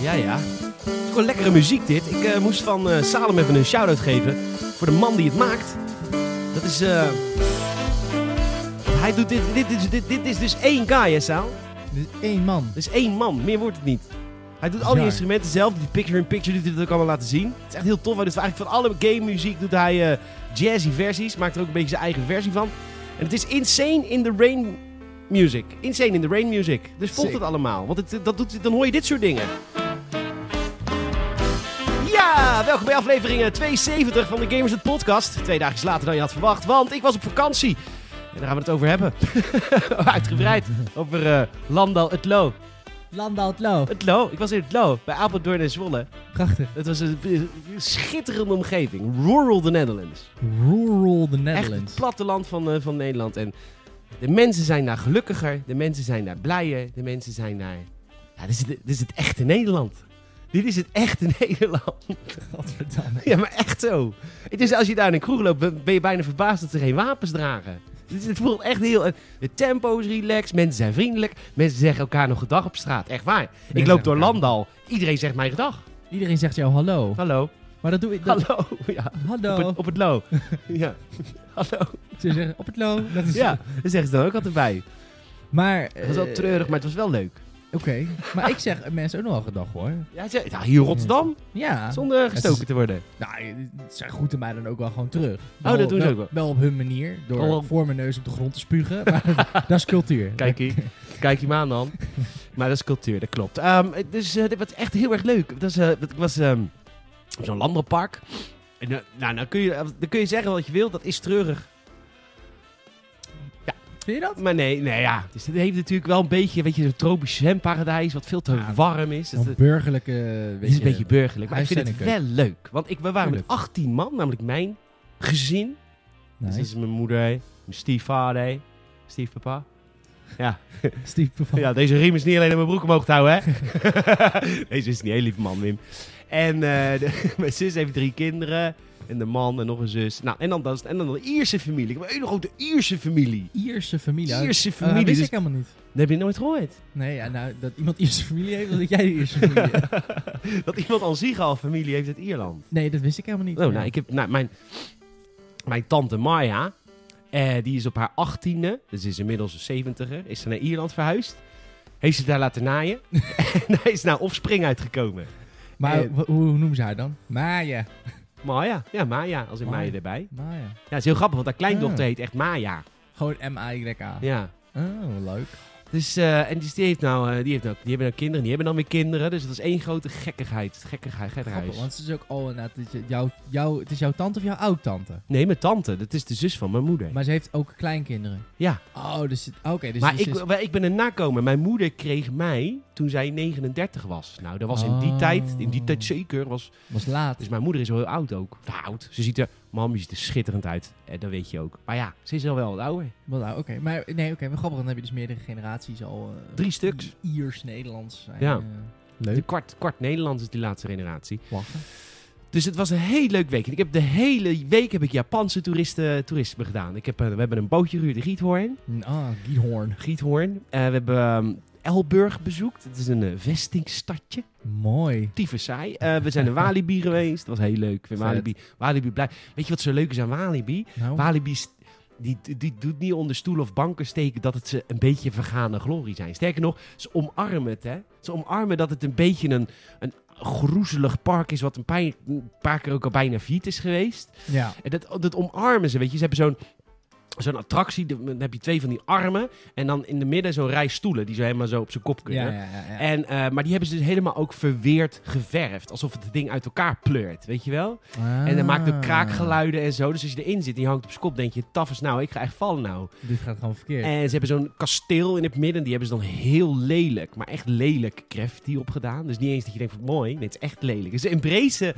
Ja, ja. Gewoon lekkere muziek dit. Ik eh, moest van eh, Salem even een shout-out geven voor de man die het maakt. Dat is... eh, Hij doet dit, dit, is- dit, dit is dus één guy, hè Saal? Dit is één man. Dat is één man, meer wordt het niet. Hij doet al die Bizar. instrumenten zelf, die picture-in-picture doet hij dat ook allemaal laten zien. Het is echt heel tof. Hij doet eigenlijk van alle game muziek doet hij eh, jazzy versies, maakt er ook een beetje zijn eigen versie van. En het is Insane in the Rain Music. Insane in the Rain Music. Dus volg Sick. het allemaal, want het, dat doet, dan hoor je dit soort dingen. Ja, welkom bij aflevering eh, 72 van de Gamers het Podcast. Twee dagen later dan je had verwacht, want ik was op vakantie. En daar gaan we het over hebben. Uitgebreid over eh Landal het Loo. Landal het Loo. Het Lo, ik was in het Lo, bij Apeldoorn en Zwolle. Prachtig. Het was een een schitterende omgeving. Rural the Netherlands. Rural the Echt het Netherlands. platteland van, eh, van Nederland. En de mensen zijn daar gelukkiger, de mensen zijn daar blijer, de mensen zijn daar... Ja, dit is, het- dit is het echte Nederland. Dit is het echte Nederland. Godverdamme. Ja, maar echt zo. Het is als je daar in een kroeg loopt, ben ben je bijna verbaasd dat ze geen wapens dragen. Het is- Het voelt echt heel... Het tempo is relaxed, mensen zijn vriendelijk. Mensen zeggen elkaar nog gedag op straat. Echt waar. Ik Mensen loop door elkaar- Landal. Iedereen zegt mij gedag. Iedereen zegt jou hallo. Hallo. Maar dat doe ik... Dat... Hallo. Ja. Hallo. Op, het, op het lo. ja. Hallo. Ze zeggen op het Loo. Dat is... Ja, dat zeggen ze dan ook altijd bij. Maar... Het was wel eh, treurig, maar het was wel leuk. Oké. Maar ik zeg eh, mensen ook nog wel gedag hoor. Ja, ze- nou, hier in Rotterdam, Ja. zonder gestoken te worden. Nou, ze groeten mij dan ook wel gewoon terug. Oh, dat doen ze wel, ook wel. Wel op hun manier. Door Oh, wel. voor mijn neus op de grond te spugen. Maar dat is cultuur. Kijk hier. Kijk je aan dan. Maar dat is cultuur, dat klopt. Ehm, dus eh, dit was echt heel erg leuk. Dat is, eh, ik was ehm, op zo'n landbouwpark. En, eh, nou, nou kun je, dan kun je zeggen wat je wil, dat is treurig. Vind je dat? Maar nee, nee, ja. Dus het heeft natuurlijk wel een beetje, weet je, zo'n tropisch zwemparadijs, wat veel te Ja, warm is. Dat- Een burgerlijke... Het is een beetje burgerlijk, maar ik vind het wel huisstijlenkeuken. leuk. Want ik, we waren met Tuurlijk. 18 man, namelijk mijn gezin. Dus dat is mijn moeder, mijn stiefvader, stiefpapa. Stiekem van... Ja, deze riem is niet alleen aan mijn broek omhoog te houden, hè? deze is niet heel lieve man, Wim. En eh, de- mijn zus heeft drie kinderen. En de man en nog een zus. Nou, en dan, dan, en dan de Ierse familie. Ik heb een hele grote Ierse familie. Ierse familie. Ierse Eh, familie. wist dus- ik helemaal niet. dat heb je nooit gehoord. Nee, ja, nou, dat iemand Ierse familie heeft, dan dat jij de Ierse familie hebt. Dat iemand al zich al familie heeft uit Ierland. Nee, dat wist ik helemaal niet. Oh, nou, ik heb, nou, mijn, mijn tante Maya, eh, die is op haar achttiende, dus is inmiddels een zeventiger, is ze naar Ierland verhuisd. Heeft ze daar laten naaien. en daar is nou Offspring uitgekomen. Maar eh, w- hoe, hoe noemen ze haar dan? Maya. Maya, ja, Maya, als in Maya. Maya erbij. Maya. Ja, het is heel grappig, want haar kleindochter Ah. heet echt Maya. Gewoon M-A-Y-A. Ja. Oh, leuk. Dus, eh, en dus die, heeft nou, eh, die, heeft nou, die hebben nou kinderen, die hebben dan weer kinderen. Dus dat is één grote gekkigheid. Gekkigheid, Grappig, gekkigheid. want ze is ook... Oh, nou, het, is jou, jou- het is jouw tante of jouw oud-tante? Nee, mijn tante, dat is de zus van mijn moeder. Maar ze heeft ook kleinkinderen. ja. Oh, dus... het- Oké, dus... maar dus ik, ze is- wel, ik ben een nakomer. Mijn moeder kreeg mij toen zij 39 was. Nou, dat was in die Oh. tijd, in die tijd zeker, was... was laat. Dus mijn moeder is wel heel oud ook. Nou, oud. Ze ziet er, mam, je ziet er schitterend uit. Eh, dat weet je ook. Maar ja, ze is al wel wat ouder. Wel, nou, Oké, maar nee, oké. maar grappig, dan heb je dus meerdere generaties al... eh, Drie stuks. die Iers-Nederlands zijn. Ja. eh, De leuk. kwart, kwart Nederlands is die laatste generatie. Lachen. Dus het was een heel leuk week. En ik heb de hele week heb ik Japanse toeristen, toerisme gedaan. Ik heb, een- we hebben een bootje gehuurd in Giethoorn. Ah, Giethoorn. Giethoorn. Eh, we hebben ehm, Elburg bezoekt. Het is een eh, vestingstadje. Mooi. tyfus saai. Eh, we zijn naar Walibi geweest. Dat was heel leuk. Ik vind Vet. Walibi, Walibi blij. Weet je wat zo leuk is aan Walibi? Nou, Walibi st- die, die, die doet niet onder stoelen of banken steken dat het ze een beetje vergane glorie zijn. Sterker nog, ze omarmen het. Hè? Ze omarmen dat het een beetje een, een groezelig park is wat een paar, een paar keer ook al bijna failliet is geweest. ja. En dat, dat omarmen ze, weet je. Ze hebben zo'n zo'n attractie, dan heb je twee van die armen en dan in de midden zo'n rij stoelen die zo helemaal zo op zijn kop kunnen. Ja, ja, ja, ja. En, eh, maar die hebben ze dus helemaal ook verweerd geverfd. Alsof het ding uit elkaar pleurt, weet je wel? En dan Ah. maakt ook kraakgeluiden en zo. Dus als je erin zit en je hangt op z'n kop, denk je... Taf is nou, ik ga echt vallen nou. Dit gaat gewoon verkeerd. En ze hebben zo'n kasteel in het midden. Die hebben ze dan heel lelijk, maar echt lelijk graffiti opgedaan. Dus niet eens dat je denkt van mooi. Nee, het is echt lelijk. Dus ze embracen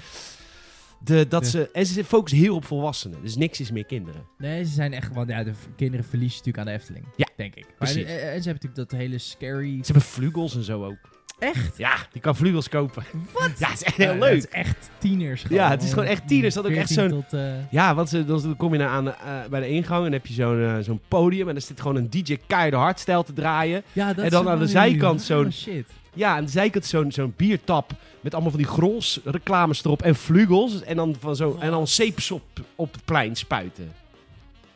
de, dat Ja. ze... En ze focussen heel op volwassenen. Dus niks is meer kinderen. Nee, ze zijn echt... Want ja, de v- kinderen verliezen natuurlijk aan de Efteling. Ja, Denk ik. Maar, precies. eh, eh, en ze hebben natuurlijk dat hele scary... Ze hebben vlugels en zo ook. Echt? Ja, die kan vlugels kopen. Wat? Ja, het is echt heel Ja, leuk. Het is echt tieners. Ja, het is gewoon echt tieners. Dat ook echt 14 Tot, eh, Ja, want ze, dan kom je naar aan, eh, bij de ingang en heb je zo'n eh, zo'n podium. En er zit gewoon een DJ keihard hardstijl te draaien. ja, dat En is dan wel aan de heel zijkant leuk. zo'n- Ah, shit. Ja, aan de zijkant zo'n zo'n biertap met allemaal van die grols reclames erop en vlugels. En dan, van zo, en dan zeeps op, op het plein spuiten.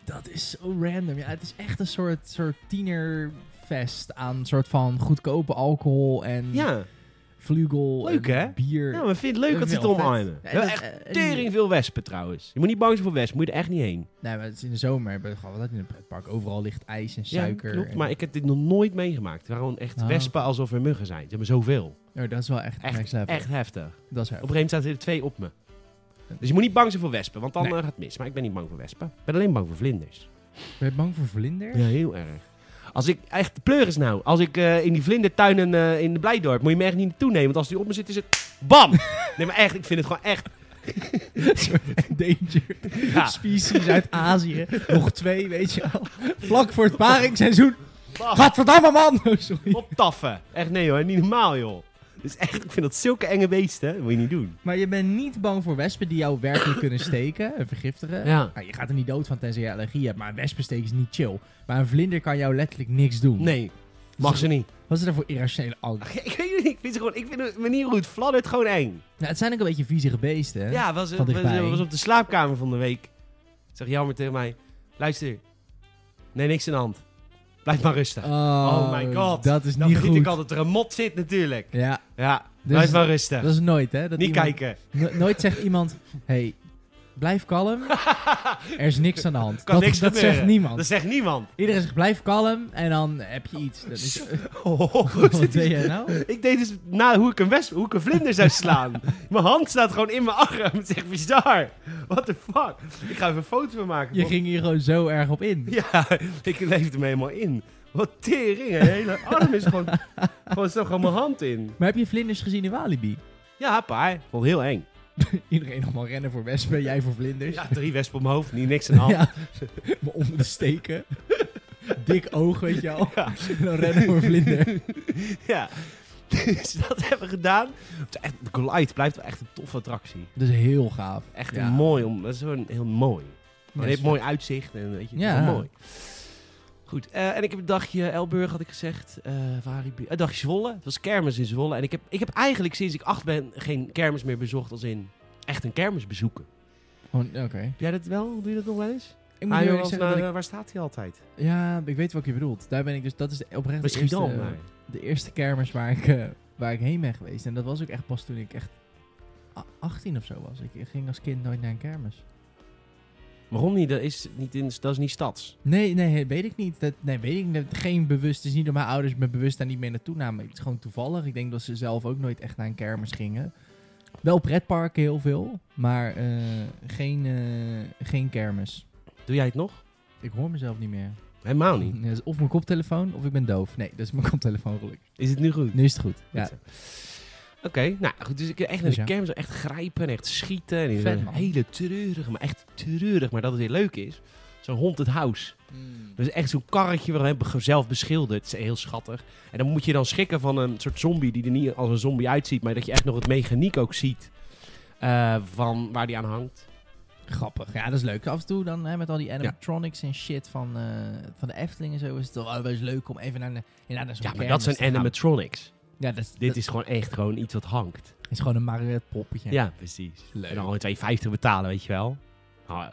Dat is zo random. Ja, het is echt een soort, soort tienerfest aan soort van goedkope alcohol en Ja, vlugel Leuk, en hè? bier. ja maar vind je het leuk dat ze het Wel vet. omarmen? Ja, We hebben dat- echt eh, tering veel wespen trouwens. Je moet niet bang zijn voor wespen, moet je er echt niet heen. Nee, maar het is in de zomer. hebben we gewoon wat dat in het park. Overal ligt ijs en Ja, suiker. klopt, en- maar ik heb dit nog nooit meegemaakt. Waarom echt Ah. wespen alsof er muggen zijn. Ze hebben zoveel. Ja, Oh, dat is wel echt, Echt, next level. Echt heftig. Dat is Op heftig. een gegeven moment zaten er twee op me. Dus je moet niet bang zijn voor wespen, want dan Nee. eh, gaat het mis. Maar ik ben niet bang voor wespen. Ik ben alleen bang voor vlinders. Ben je bang voor vlinders? Ja, heel erg. Als ik echt pleuris nou, als ik eh, in die vlindertuinen eh, in de Blijdorp, moet je me echt niet naartoe nemen. Want als die op me zit, is het bam. nee, maar echt, ik vind het gewoon echt. Een soort endangered Ja, species uit Azië. Nog twee, weet je wel. Vlak voor het paringsseizoen. bam, Gadverdamme man! Oh, sorry. optaffen. Echt nee hoor, niet normaal joh. Dus echt, ik vind dat zulke enge beesten. Dat moet je niet doen. Maar je bent niet bang voor wespen die jou werkelijk kunnen steken en vergiftigen. Nou, je gaat er niet dood van tenzij je allergie hebt, maar een wespensteek is niet chill. Maar een vlinder kan jou letterlijk niks doen. Nee, mag ze niet. Wat is er voor irrationele angst? Ik weet het niet, ik vind ze gewoon, ik vind de manier hoe het fladdert gewoon eng. Nou, het zijn ook een beetje viezige beesten. hè? Ja, was, Van was, dichtbij. was op de slaapkamer van de week. Zeg jammer tegen mij. Luister. Nee, niks in de hand. Blijf maar rustig. Oh, Oh my god. Dat is Dan niet vergeet goed. ik al dat er een mot zit natuurlijk. Ja, Ja, Dus- blijf maar rustig. dat is nooit, hè? Dat Niet iemand- kijken. No- nooit zegt iemand, hey, blijf kalm. er is niks aan de hand. Kan dat niks dat gebeuren. Dus- zegt niemand. Dat zegt niemand. Iedereen zegt, blijf kalm en dan heb je iets. Dat is, Oh, wat zit ben die- jij nou? ik deed dus na hoe ik een, wesp, hoe ik een vlinder zou slaan. mijn hand staat gewoon in mijn arm. Het is echt bizar. What the fuck. Ik ga even een foto van maken. Je Bob. ging hier gewoon zo erg op in. Ja, ik leefde me helemaal in. Wat tering, hè? hele arm is gewoon... gewoon zo gewoon mijn hand in. Maar heb je vlinders gezien in Walibi? Ja, paar. Vond heel eng. Iedereen allemaal rennen voor wespen, jij voor vlinders. Ja, drie wespen op mijn hoofd, niet niks aan de hand. Ja, me onder de steken. Dik oog, weet je al. En dan rennen voor vlinder. Ja. Dus dat hebben we gedaan. Het is echt, Glide blijft wel echt een toffe attractie. Dat is heel gaaf. Echt Ja. een mooi, om, dat is gewoon heel mooi. Ja, Het heeft mooi uitzicht en weet je, het is Ja. wel mooi. Goed, eh, en ik heb een dagje Elburg, had ik gezegd. eh waar ik, een dagje Zwolle. Het was kermis in Zwolle. En ik heb, ik heb eigenlijk sinds ik acht ben geen kermis meer bezocht als in echt een kermis bezoeken. Gewoon- Oké. Doe jij dat wel? Doe je dat nog wel eens? Ik moet Ah, je joh, eerlijk als zeggen naar, dat ik eh, Waar staat hij altijd? Ja, ik weet wat je bedoelt. Daar ben ik dus, dat is de, oprecht de Misschien eerste, dan, maar... de eerste kermis waar ik, eh, waar ik heen ben geweest. En dat was ook echt pas toen ik echt a- 18 of zo was. Ik ging als kind nooit naar een kermis. Waarom niet? Dat is niet, in, dat is niet stads. Nee, nee, weet ik niet. Dat, nee, weet ik niet. Geen bewust. Het is niet dat mijn ouders me bewust daar niet mee naartoe namen. Het is gewoon toevallig. Ik denk dat ze zelf ook nooit echt naar een kermis gingen. Wel pretparken heel veel, maar eh, geen, eh, geen kermis. Doe jij het nog? Ik hoor mezelf niet meer. Helemaal Nou niet. Ja, dat is Of mijn koptelefoon, of ik ben doof. Nee, dat is mijn koptelefoon gelukkig. Is het nu goed? Nu is het goed. Ja. Goed Oké, nou goed, dus ik echt naar Dus de ja. kermis, echt grijpen en echt schieten. En in Vet, een man. hele treurige, maar echt treurig, maar dat het weer leuk is. Zo'n Haunted House. Dat is echt zo'n karretje waar we hebben ge- zelf beschilderd. Het is heel schattig. En dan moet je dan schrikken van een soort zombie die er niet als een zombie uitziet, maar dat je echt nog het mechaniek ook ziet eh, van waar die aan hangt. Grappig. Ja, dat is leuk. Af en toe dan hè, met al die animatronics en shit van, eh, van de Efteling en zo is het toch wel eens leuk om even naar de naar zo'n Ja, maar dat kermis zijn te gaan. animatronics. Ja, dat, Dit dit is, is gewoon echt gewoon iets wat hangt. dat is gewoon een marionet poppetje. Ja, precies. Leuk. En dan gewoon 2,50 betalen, weet je wel. Ah,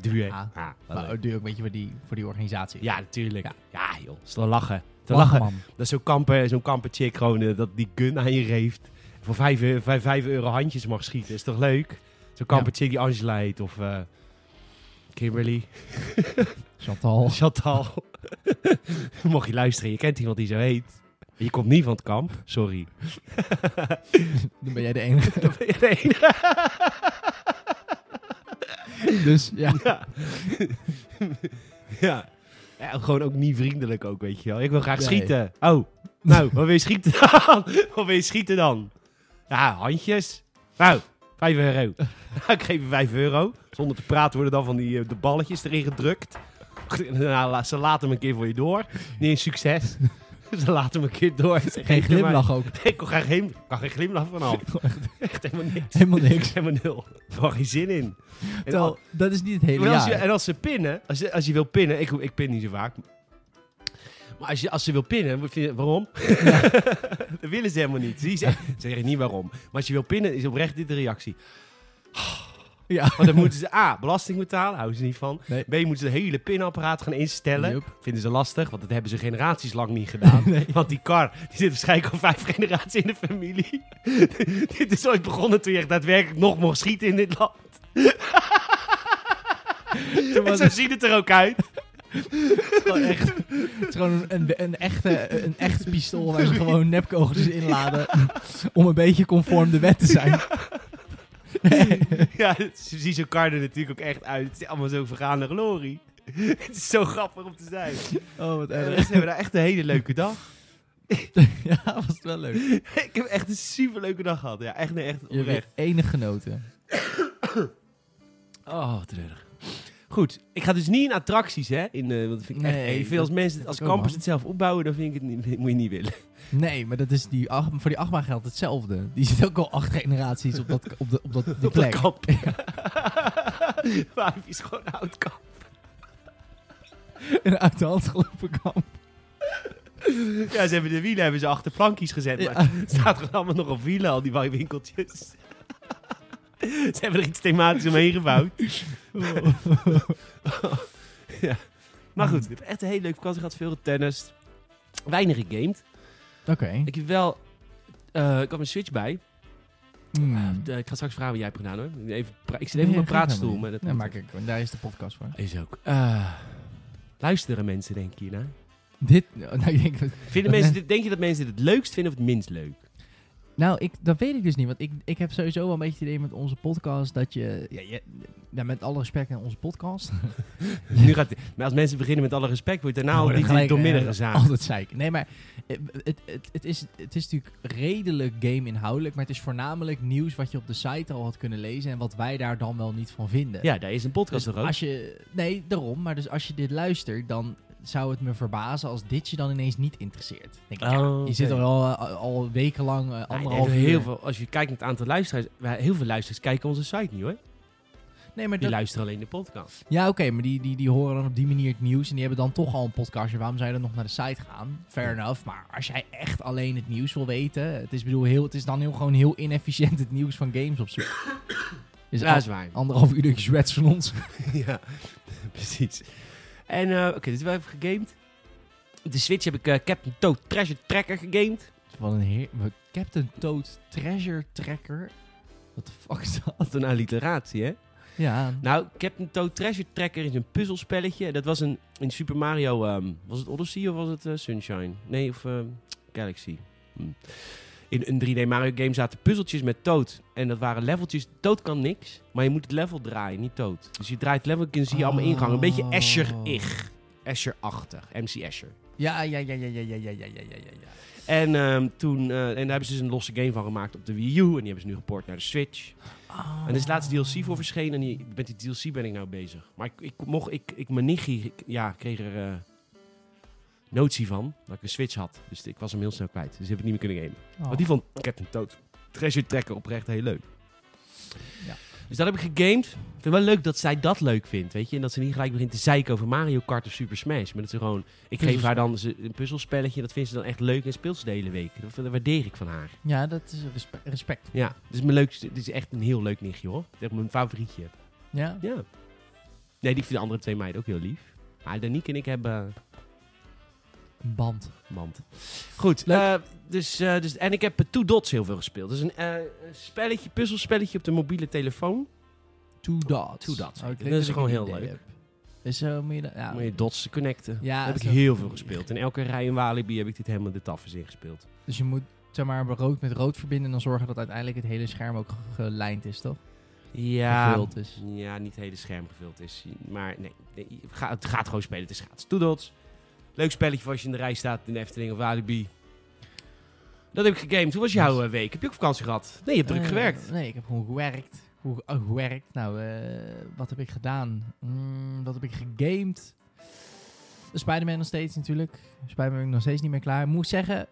duur. Ah, Ah, wel leuk. Maar ook duur ook een beetje voor die, voor die organisatie. Ja, natuurlijk. Ja, Ja. joh. Is te lachen. Te Lach, lachen. man. Dat zo'n kamper, zo'n kamperchick gewoon eh, dat die gun aan je geeft. Voor 5 euro, vijf- vijf euro handjes mag schieten. Is toch leuk? Zo'n kamperchick die Angela heet of eh, Kimberly, Chantal. Chantal. Mocht je luisteren, je kent iemand die zo heet. Je komt niet van het kamp, sorry. Dan ben jij de enige. Dat ben je de enige. dus ja. Ja. ja. Ja, Gewoon ook niet vriendelijk ook, weet je wel. Ik wil graag Nee. schieten. Oh, nou, wat wil je schieten dan? Wat wil je schieten dan? Ja, handjes. Nou, 5 euro. Nou, ik geef je 5 euro. Zonder te praten worden dan van die eh, de balletjes erin gedrukt. Nou, la- ze laten hem een keer voor je door. Niet een succes. Ze laten me een keer door. Ze Geen geven mij- glimlach ook. Nee, ik kan geen, glim- kan geen glimlach van af. Echt helemaal niks. Helemaal niks. Helemaal nul. Gewoon geen zin in. En al- Terwijl, dat is niet het hele en als, je, jaar. en als ze pinnen, als je, als je wil pinnen, ik, ik pin niet zo vaak. Maar als, je, als ze wil pinnen, moet je- waarom? dat willen ze helemaal niet. Ze ze zeggen niet waarom. Maar als je wil pinnen, is oprecht dit de reactie. Ja. Want dan moeten ze A, belasting betalen, houden ze niet van. Nee. B, moeten ze het hele pinapparaat gaan instellen. Yup. Vinden ze lastig, want dat hebben ze generaties lang niet gedaan. Want die kar, die zit waarschijnlijk al vijf generaties in de familie. dit is ooit begonnen toen je echt daadwerkelijk nog mocht schieten in dit land. En was zo ziet het er ook uit. Gewoon echt, het is gewoon een, een, een echte, een echt pistool waar ze gewoon nepkogels in laden. Om een beetje conform de wet te zijn. Ja, ze zien zo'n kar er natuurlijk ook echt uit. Het is allemaal zo'n vergaande glorie. Het is zo grappig om te zijn. Oh, wat En de erg. rest hebben daar echt een hele leuke dag. Ja, was het wel leuk. Ik heb echt een super leuke dag gehad. Ja, echt, nee, echt Je oprecht. hebt enig genoten. Oh, wat treurig. Goed, ik ga dus niet in attracties, hè? In, eh want dat vind ik Nee, echt even als mensen, als dat- campers oh, het zelf opbouwen, dan vind ik het niet, moet je niet willen. Nee, maar dat is die, ach- voor die achtbaan geldt hetzelfde. Die zit ook al acht generaties op, dat, op, de, op, dat, die Op dat plek. kamp. Vijf is gewoon oud kamp. Een uit de hand gelopen kamp. Ja, ze hebben de wielen hebben ze achter plankjes gezet, maar Ja. het staat gewoon allemaal nog op wielen, al die winkeltjes. ze hebben er iets thematisch omheen gebouwd. ja. Maar goed, ik heb echt een hele leuke vakantie gehad, veel tennis, weinig gegamed. Oké. Ik heb wel, eh, ik had mijn Switch bij. Hmm. Eh, ik ga straks vragen wat jij hebt gedaan hoor. Even pra- ik zit even op mijn Nee, dat praatstoel. gaat Maar dat helemaal niet. Nee, maar kijk, daar is de podcast voor. is ook. Eh, luisteren mensen, denk je hierna? Dit, nou, ik denk, Vinden mensen dit, denk je dat mensen dit het leukst vinden of het minst leuk? Nou, ik, dat weet ik dus niet. Want ik, ik heb sowieso wel een beetje het idee met onze podcast dat je... Ja, je- ja, met alle respect naar onze podcast. Nu gaat, maar als mensen beginnen met alle respect, wordt daarna Nou, al dan niet gelijk, doormidden eh, gezaagd. Altijd zeik. Nee, maar eh, het, het, het, is, het is natuurlijk redelijk game-inhoudelijk. Maar het is voornamelijk nieuws wat je op de site al had kunnen lezen. En wat wij daar dan wel niet van vinden. Ja, daar is een podcast Dus er ook. als je, nee, daarom. Maar dus als je dit luistert, dan zou het me verbazen als dit je dan ineens niet interesseert. Denk ik, ja, Oh, Je zit oké. er al, eh, al wekenlang, eh, Nee, nee, anderhalf uur. heel veel, als je kijkt naar het aantal luisteraars, wij- heel veel luisteraars kijken onze site niet hoor. Nee, maar Die dat, luisteren alleen de podcast. Ja, oké, maar die, die, die horen dan op die manier het nieuws en die hebben dan toch al een podcastje. Waarom zou je dan nog naar de site gaan? Fair enough, maar als jij echt alleen het nieuws wil weten, het is, bedoel, heel, het is dan heel, gewoon heel inefficiënt het nieuws van games opzoeken. Dus ja, al- is waar. anderhalf uur zwets van ons. ja, precies. En eh, oké, dus we hebben gegamed. Op de Switch heb ik eh, Captain Toad Treasure Tracker gegamed. Wat een heer... wat- Captain Toad Treasure Tracker. Wat de fuck is dat? Wat een alliteratie, hè? Ja, Nou, Captain Toad Treasure Tracker is een puzzelspelletje. Dat was een, in Super Mario, ehm, was het Odyssey of was het eh, Sunshine? Nee, of ehm, Galaxy. Hm. In een 3D Mario game zaten puzzeltjes met Toad. En dat waren leveltjes. Toad kan niks, maar je moet het level draaien, niet Toad. Dus je draait level en zie je allemaal ingangen. Een beetje Oh. Asher-ig. Asher-achtig. MC Asher. ja, ja, ja, ja, ja, ja, ja, ja, ja, ja, ja. En, ehm, toen, eh, en daar hebben ze dus een losse game van gemaakt op de Wii U. En die hebben ze nu geport naar de Switch. Ah. En er is laatst DLC voor verschenen. En die, met die DLC ben ik nou bezig. Maar ik, ik mocht, ik, ik, mijn nichtje, ik- ja, kreeg er eh, notie van. Dat ik een Switch had. Dus ik was hem heel snel kwijt. Dus ik heb het niet meer kunnen gamen. Oh. Maar die vond Captain Toad Treasure Tracker oprecht heel leuk. Ja. Dus dat heb ik gegamed. Ik vind het wel leuk dat zij dat leuk vindt, weet je. En dat ze niet gelijk begint te zeiken over Mario Kart of Super Smash. Maar dat ze gewoon... Ik geef haar dan ze- een puzzelspelletje. Dat vindt ze dan echt leuk en speelt ze de hele week. Dat, dat waardeer ik van haar. Ja, dat is respe- respect. Ja, dit is, mijn leukste, dit is echt een heel leuk nichtje, hoor. Dat is echt mijn favorietje. Ja? Ja. Nee, die vinden de andere twee meiden ook heel lief. Maar Danique en ik hebben Een band. band. Goed. Leuk. eh, dus, eh, dus, en ik heb eh, Two Dots heel veel gespeeld. Dus een eh, een spelletje, puzzelspelletje op de mobiele telefoon. Two dots. Two dots. Oh, ik Dat denk is ik gewoon een heel idee leuk. heb. Is zo moet je dat... Ja. Om je dots te connecten. Ja, Daar heb ik zo. heel veel gespeeld. In elke rij in Walibi heb ik dit helemaal de tafels ingespeeld. Dus je moet zeg maar rood met rood verbinden en dan zorgen dat uiteindelijk het hele scherm ook ge- gelijnd is, toch? Ja, Gevuld is. ja, niet het hele scherm gevuld is. Maar nee, nee, ga- het gaat gewoon spelen. Het is gratis. Two Dots. Leuk spelletje voor als je in de rij staat in de Efteling of Walibi. Dat heb ik gegamed. Hoe was jouw eh, week? Heb je ook vakantie gehad? Nee, je hebt druk Eh, gewerkt. Nee, ik heb gewoon gewerkt. Hoe oh, gewerkt? Nou, eh, wat heb ik gedaan? Mm, wat heb ik gegamed? Spider-Man nog steeds natuurlijk. Spider-Man ben ik nog steeds niet meer klaar. Moet zeggen,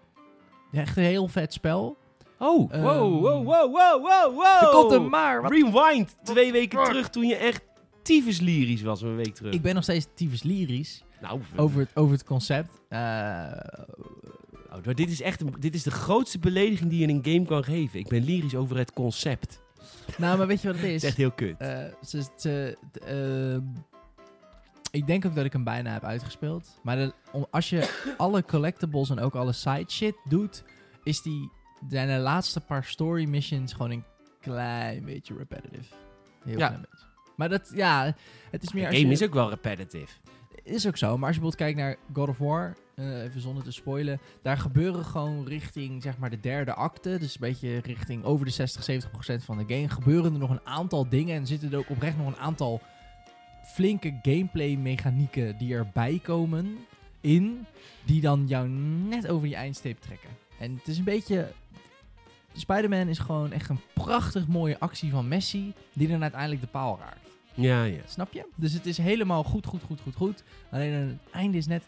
echt een heel vet spel. Oh, Ehm, wow, wow, wow, wow, wow, wow. Er komt een maar. Wat? Rewind, twee weken terug toen je echt tyfus lyrisch was een week terug. Ik ben nog steeds tyfus lyrisch nou, over het, over het concept. Eh, oh, maar dit is echt een- dit is de grootste belediging die je in een game kan geven. Ik ben lyrisch over het concept. Het nou, maar weet je wat het is is? echt heel kut. Eh, ze, ze- ehm, ik denk ook dat ik hem bijna heb uitgespeeld. Maar de- om- als je alle collectibles en ook alle side shit doet, is die, zijn de laatste paar story missions gewoon een klein beetje repetitive. Heel Ja. klein beetje. Maar dat, ja, het is De meer als game je- is ook wel repetitive. is ook zo. Maar als je bijvoorbeeld kijkt naar God of War, eh, even zonder te spoilen, daar gebeuren gewoon richting zeg maar de derde acte, dus een beetje richting over de 60, 70 procent van de game, gebeuren er nog een aantal dingen en zitten er ook oprecht nog een aantal flinke gameplay mechanieken die erbij komen in, die dan jou net over die eindstreep trekken. En het is een beetje... Spider-Man is gewoon echt een prachtig mooie actie van Messi, die dan uiteindelijk de paal raakt. Ja, ja. Snap je? Dus het is helemaal goed, goed, goed, goed, goed. Alleen het einde is net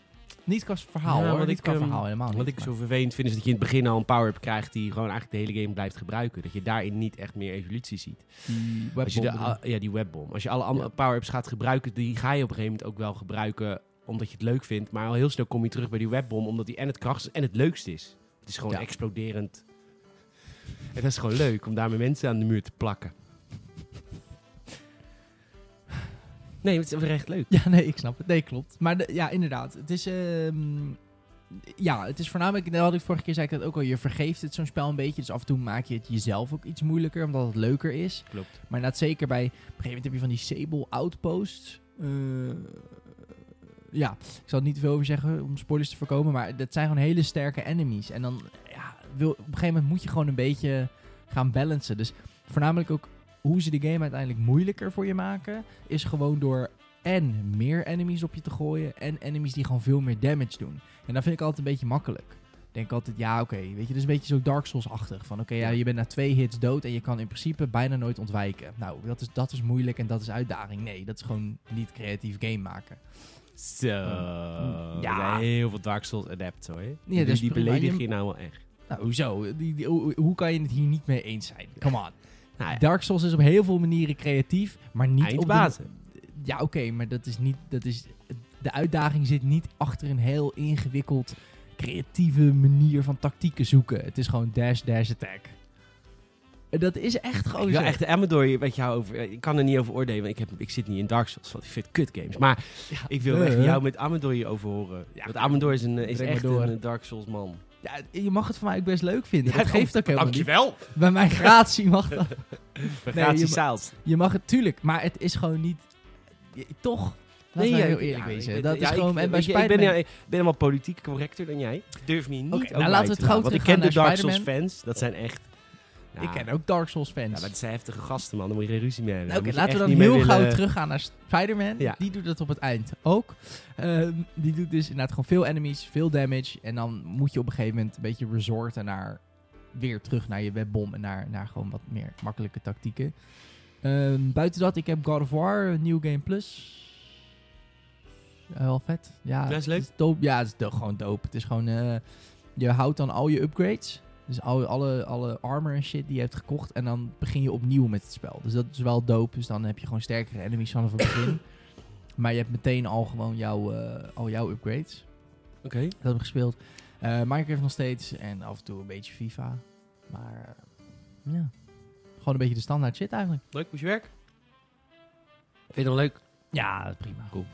niet qua verhaal Ja, hoor. wat Niet ik, qua ehm, verhaal helemaal Wat Oh, niet. ik zo vervelend vind is dat je in het begin al een power-up krijgt die gewoon eigenlijk de hele game blijft gebruiken. Dat je daarin niet echt meer evolutie ziet. maar Als je de, die webbom- a- ja, die webbom. Als je alle andere Ja. power-ups gaat gebruiken, die ga je op een gegeven moment ook wel gebruiken omdat je het leuk vindt. Maar al heel snel kom je terug bij die webbom omdat die en het krachtigste en het leukste is. Het is gewoon Ja. exploderend. En dat is gewoon leuk om daarmee mensen aan de muur te plakken. Nee, het is echt leuk. Ja, nee, ik snap het. Nee, klopt. Maar de- ja, inderdaad. Het is... ehm, ja, het is voornamelijk... Dat had ik vorige keer zei ik dat ook al. Je vergeeft het zo'n spel een beetje. Dus af en toe maak je het jezelf ook iets moeilijker. Omdat het leuker is. Klopt. Maar inderdaad, zeker bij... Op een gegeven moment heb je van die Sable Outposts. Eh, ja, ik zal er niet te veel over zeggen om spoilers te voorkomen. Maar dat zijn gewoon hele sterke enemies. En dan, ja, wil, op een gegeven moment moet je gewoon een beetje gaan balancen. Dus voornamelijk ook hoe ze de game uiteindelijk moeilijker voor je maken... is gewoon door en meer enemies op je te gooien... en enemies die gewoon veel meer damage doen. En dat vind ik altijd een beetje makkelijk. Ik denk altijd, ja, oké, weet je, dat is een beetje zo Dark Souls-achtig. Van, oké, ja, je bent na twee hits dood en je kan in principe bijna nooit ontwijken. Nou, dat is, dat is moeilijk en dat is uitdaging. Nee, dat is gewoon niet creatief game maken. Hm, Zo. Ja. Er zijn heel veel Dark Souls adepts hoor. dat die is die prima. beledig Je- je nou wel echt. Nou, hoezo? Die, die- hoe, hoe kan je het hier niet mee eens zijn? Come on. Nou ja, Dark Souls is op heel veel manieren creatief, maar niet op eindbazen. de... Ja, oké, maar dat is niet... Dat is, de uitdaging zit niet achter een heel ingewikkeld creatieve manier van tactieken zoeken. Het is gewoon dash, dash, attack. Dat is echt gewoon ik zo. wil echt de Amador met jou over. Ik kan er niet over oordelen, want ik, heb, ik zit niet in Dark Souls, want ik vind kut games. Maar Ja, ik wil eh. echt jou met Amador hierover horen. Ja, want Amador is, een, eh, is breng echt maar door. een eh, Dark Souls man. Ja, je mag het van mij ook best leuk vinden. Ja, dat geeft ook helemaal niet. Dankjewel. Bij mijn gratie mag dat. We Nee, gaan je die ma- Saals. Je mag het, tuurlijk. Maar het is gewoon niet... je- toch? Laten we ja, heel ik- eerlijk ja, wezen. ik- dat ja, is gewoon... ik- en bij weet je, ik Spider-Man... ben, ja, ik ben helemaal politiek correcter dan jij. Ik durf me hier niet Oké, over nou, uit laten we te het gauw laten, Want ik teruggaan ken de naar Dark Souls fans. Dat zijn echt... Ja, Ik ken ook Dark Souls fans. Ja, maar het zijn heftige gasten, man. Daar moet je geen ruzie mee hebben. Nou, Oké, Daar moet je laten we echt dan niet mee heel gauw willen- teruggaan naar Spider-Man. Ja. Die doet dat op het eind ook. Ehm, die doet dus inderdaad gewoon veel enemies, veel damage. En dan moet je op een gegeven moment een beetje resorten naar... Weer terug naar je webbom en naar, naar gewoon wat meer makkelijke tactieken. Ehm, buiten dat, ik heb God of War, New Game Plus. Ja, wel vet. Ja, Dat is leuk. Het is dope. Ja, het is do- gewoon dope. Het is gewoon... eh, je houdt dan al je upgrades. Dus al, alle, alle armor en shit die je hebt gekocht. En dan begin je opnieuw met het spel. Dus dat is wel dope. Dus dan heb je gewoon sterkere enemies vanaf het begin. maar je hebt meteen al gewoon jouw, eh, al jouw upgrades. Oké. Dat heb ik gespeeld. Eh, Minecraft nog steeds. En af en toe een beetje FIFA. Maar eh, ja. Gewoon een beetje de standaard shit eigenlijk. Leuk, hoe is je werk? Vind je dat leuk? Ja, prima. Cool.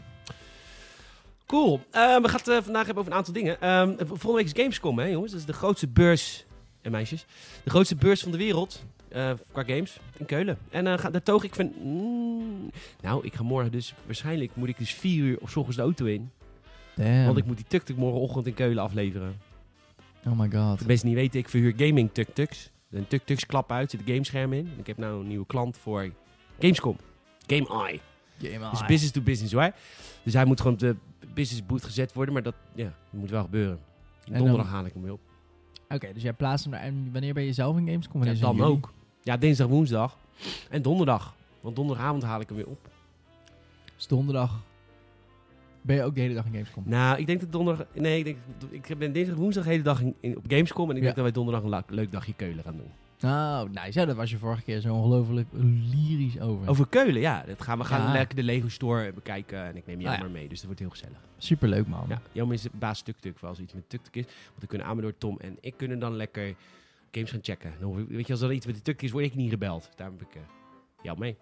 Cool. Ehm, we gaan het eh, vandaag hebben over een aantal dingen. Ehm, v- volgende week is Gamescom, hè jongens. Dat is de grootste beurs, en meisjes, de grootste beurs van de wereld eh, qua games in Keulen. En eh, ga, daar toog ik van... mm, nou, ik ga morgen dus... Waarschijnlijk moet ik dus vier uur of 's ochtends de auto in. Want ik moet die tuk-tuk morgenochtend in Keulen afleveren. Oh my god. Wat de mensen niet weten, ik verhuur gaming tuk-tuks. Een tuk-tuks klap uit, zit een gamescherm in. Ik heb nou een nieuwe klant voor Gamescom. Game Eye. Game Dus business to business, hoor. Dus hij moet gewoon op de business boot gezet worden, maar dat, ja, dat moet wel gebeuren. dan- Donderdag haal ik hem weer op. Oké, dus jij plaatst hem naar... En wanneer ben je zelf in Gamescom? Ja, Wanneer is het dan in juli? ook. Ja, dinsdag, woensdag en donderdag. Want donderdagavond haal ik hem weer op. Dus donderdag Ben je ook de hele dag in Gamescom? Nou, ik denk dat donderdag... Nee, ik, denk, ik ben dinsdag woensdag de hele dag in, in- op Gamescom. En ik Ja. denk dat wij donderdag een la- leuk dagje Keulen gaan doen. Nou, nice. Ja, dat was je vorige keer zo ongelooflijk lyrisch over. Over Keulen, ja. Dat gaan, we gaan Ja. lekker de Lego Store bekijken. En ik neem jou Ah, ja. maar mee. Dus dat wordt heel gezellig. Superleuk, man. Ja, jammer is de baas tuk-tuk voor als er iets met tuk-tuk is. Want dan kunnen Amador, Tom en ik kunnen dan lekker games gaan checken. Dan hoef ik- weet je, als er iets met de tuk is, word ik niet gebeld. Daar heb ik eh, jou mee.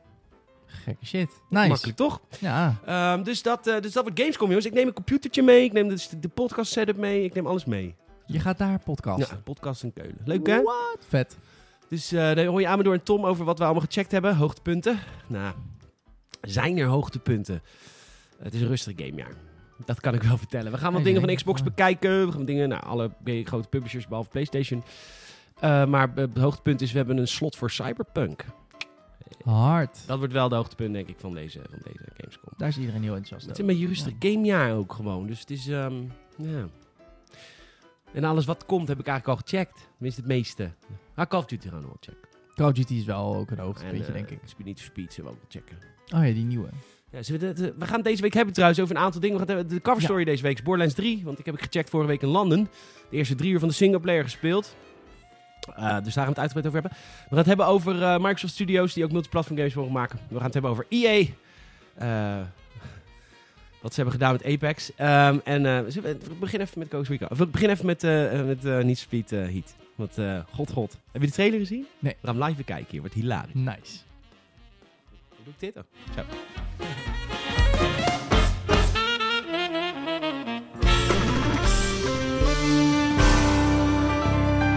Gekke shit. Nice. Makkelijk, toch? Ja. Ehm, dus, dat, eh, dus dat wordt Gamescom, jongens. Ik neem een computertje mee. Ik neem dus de podcast setup mee. Ik neem alles mee. Je gaat daar podcasten. Ja, podcast in Keulen. Leuk, hè? Wat vet. Dus eh daar hoor je Amador en Tom over wat we allemaal gecheckt hebben. Hoogtepunten. Nou, zijn er hoogtepunten? Het is een rustig gamejaar. Dat kan ik wel vertellen. We gaan wat Nee, dingen nee, van Xbox maar- bekijken. We gaan dingen, nou, alle grote publishers behalve PlayStation. Eh, maar eh, het hoogtepunt is, we hebben een slot voor Cyberpunk. Hard. Dat wordt wel de hoogtepunt, denk ik, van deze, van deze Gamescom. Daar is iedereen heel Maar enthousiast Het is over. een beetje een rustig gamejaar ook gewoon. Dus het is, ehm, ja. En alles wat komt heb ik eigenlijk al gecheckt. Tenminste, het meeste. Maar Call of Duty gaan we wel checken. Call of Duty is wel ook een hoogtepuntje, beetje denk ik. Speed for Speed zullen we ook wel checken. Oh ja, die nieuwe. Ja, zullen we, dat, eh, we gaan het deze week hebben trouwens over een aantal dingen. We gaan het hebben- de cover Ja. story deze week is Borderlands 3. Want ik heb ik gecheckt vorige week in Landen. De eerste drie uur van de singleplayer gespeeld. Eh, dus daar gaan we het uitgebreid over hebben. We gaan het hebben over eh, Microsoft Studios die ook multiplatform games mogen maken. We gaan het hebben over EA. Eh, wat ze hebben gedaan met Apex. Ehm, en eh, zullen we we beginnen even met Coach Rico. Of we beginnen even met, eh, eh, met eh, niet Speed eh, Heat. Want eh, god god. Heb je de trailer gezien? Nee. We gaan hem live bekijken hier. Wordt hilarisch. Nice. Hoe doe ik dit dan?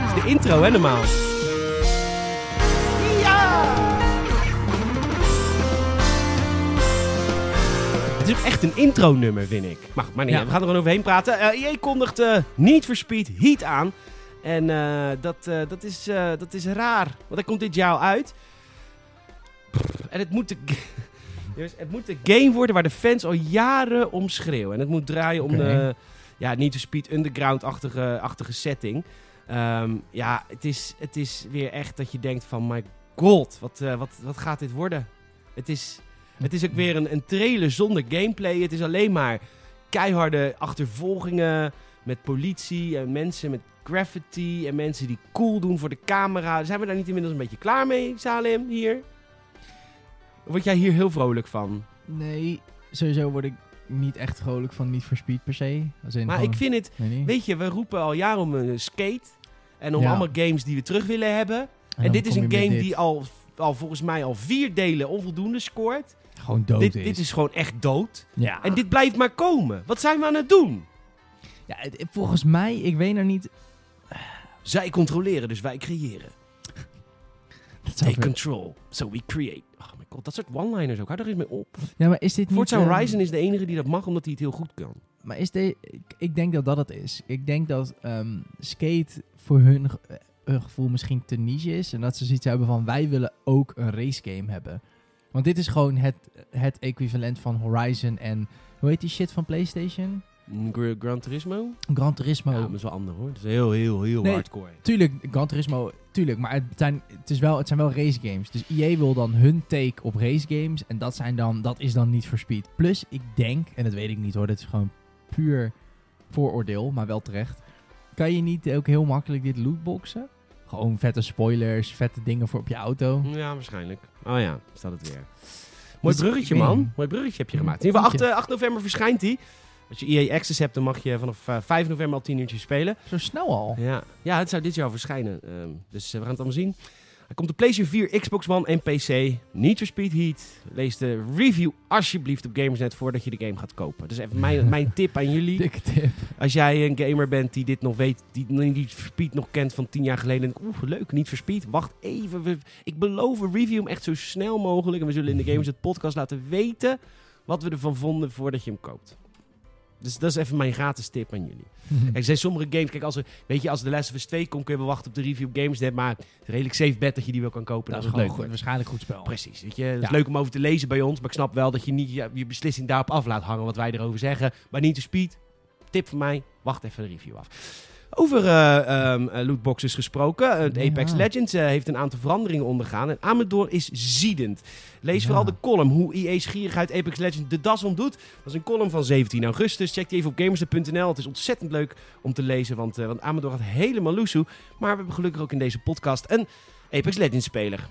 Dat is de intro, hè, normaal. Het is ook echt een intro-nummer, vind ik. Maar goed, maar niet, Ja. uit. we gaan er gewoon overheen praten. Eh EA kondigt eh Need for Speed Heat aan. En eh, dat, eh, dat, is, eh, dat is raar, want dat komt dit jaar al uit. En het moet, de, Jongens, het moet de game worden waar de fans al jaren om schreeuwen. En het moet draaien om Oké. de ja, Need for Speed Underground-achtige achtige setting. Ehm, ja, het is, het is weer echt dat je denkt van... My god, wat, eh, wat, wat gaat dit worden? Het is, het is ook weer een, een trailer zonder gameplay. Het is alleen maar keiharde achtervolgingen met politie en mensen met graffiti... en mensen die cool doen voor de camera. Zijn we daar niet inmiddels een beetje klaar mee, Salem, hier? Of Word jij hier heel vrolijk van? Nee, sowieso word ik niet echt vrolijk van Niet for Speed per se. Als in Maar gewoon- ik vind het... Nee, nee. Weet je, we roepen al jaren om een skate. En om Ja. allemaal games die we terug willen hebben. En, En, dan dit is kom een je met game dit. die al, al volgens mij al vier delen onvoldoende scoort. Gewoon dood Dit, Oh, is. dit is gewoon echt dood. Ja. En dit blijft maar komen. Wat zijn we aan het doen? ja, het- volgens mij, ik weet er niet... Zij controleren, dus wij creëren. Dat zou Take weer- control, so we create. Oh mijn god, dat soort one-liners ook. Hou er eens mee op. Ja, maar is dit niet... Forza ehm, Horizon is de enige die dat mag, omdat hij het heel goed kan. Maar is de, ik, ik denk dat dat het is. Ik denk dat ehm, skate voor hun, ge- eh, hun gevoel misschien te niche is. En dat ze zoiets hebben van wij willen ook een race game hebben. Want dit is gewoon het, het equivalent van Horizon en hoe heet die shit van PlayStation? Mm, Gra- Gran Turismo? Gran Turismo. Ja, maar dat is wel ander hoor. Dat is heel, heel, heel Oh. Nee. hardcore. Tuurlijk, Gran Turismo, tuurlijk. Maar het zijn, het, is wel, het zijn wel race games. Dus EA wil dan hun take op race games. En dat, zijn dan, dat is dan niet voor speed. Plus, ik denk, en dat weet ik niet hoor, dit is gewoon puur vooroordeel, maar wel terecht. Kan je niet ook heel makkelijk dit lootboxen? Gewoon vette spoilers, vette dingen voor op je auto. Ja, waarschijnlijk. Oh ja, staat het weer. Mooi Dus bruggetje, ik weet man. niet. Mooi bruggetje heb je Mm, gemaakt. In ieder geval, 8, dank eh, 8 november verschijnt hij. Als je EA Access hebt, dan mag je vanaf eh, 5 november al 10 uurtjes spelen. Zo snel al. Ja, ja het zou dit jaar al verschijnen. Ehm, dus eh, we gaan het allemaal zien. Er komt de PlayStation 4, Xbox One en PC. Niet voor Speed Heat. Lees de review alsjeblieft op Gamersnet voordat je de game gaat kopen. Dus even mijn, mijn tip aan jullie. Dikke tip. Als jij een gamer bent die dit nog weet, die niet Speed nog kent van tien jaar geleden. en denkt, Oeh, leuk, niet Speed. Wacht even. we- ik beloof, we review hem echt zo snel mogelijk. En we zullen in de Games het podcast laten weten wat we ervan vonden voordat je hem koopt. Dus dat is even mijn gratis tip aan jullie. Kijk, er zijn sommige games, kijk, als er, weet je, als de Last of Us 2 komt, kun je wel wachten op de review op Games. Maar het is redelijk safe bet dat je die wel kan kopen. dat Dat, is is leuk. gewoon goed, waarschijnlijk goed spel. Precies. Weet je, het is Ja. leuk om over te lezen bij ons. Maar ik snap wel dat je niet je, je beslissing daarop af laat hangen wat wij erover zeggen. Maar niet te speed. Tip van mij. Wacht even de review af. Oké, Over eh, ehm, eh, lootboxes gesproken. Eh, het Ja. Apex Legends eh, heeft een aantal veranderingen ondergaan. En Amador is ziedend. Lees Ja. vooral de column hoe E IE's gierigheid Apex Legends de das omdoet. Dat is een column van 17 augustus. Check die even op gamers.nl. Het is ontzettend leuk om te lezen, want, eh, want Amador had helemaal loesoe. Maar we hebben gelukkig ook in deze podcast een Apex Legends speler.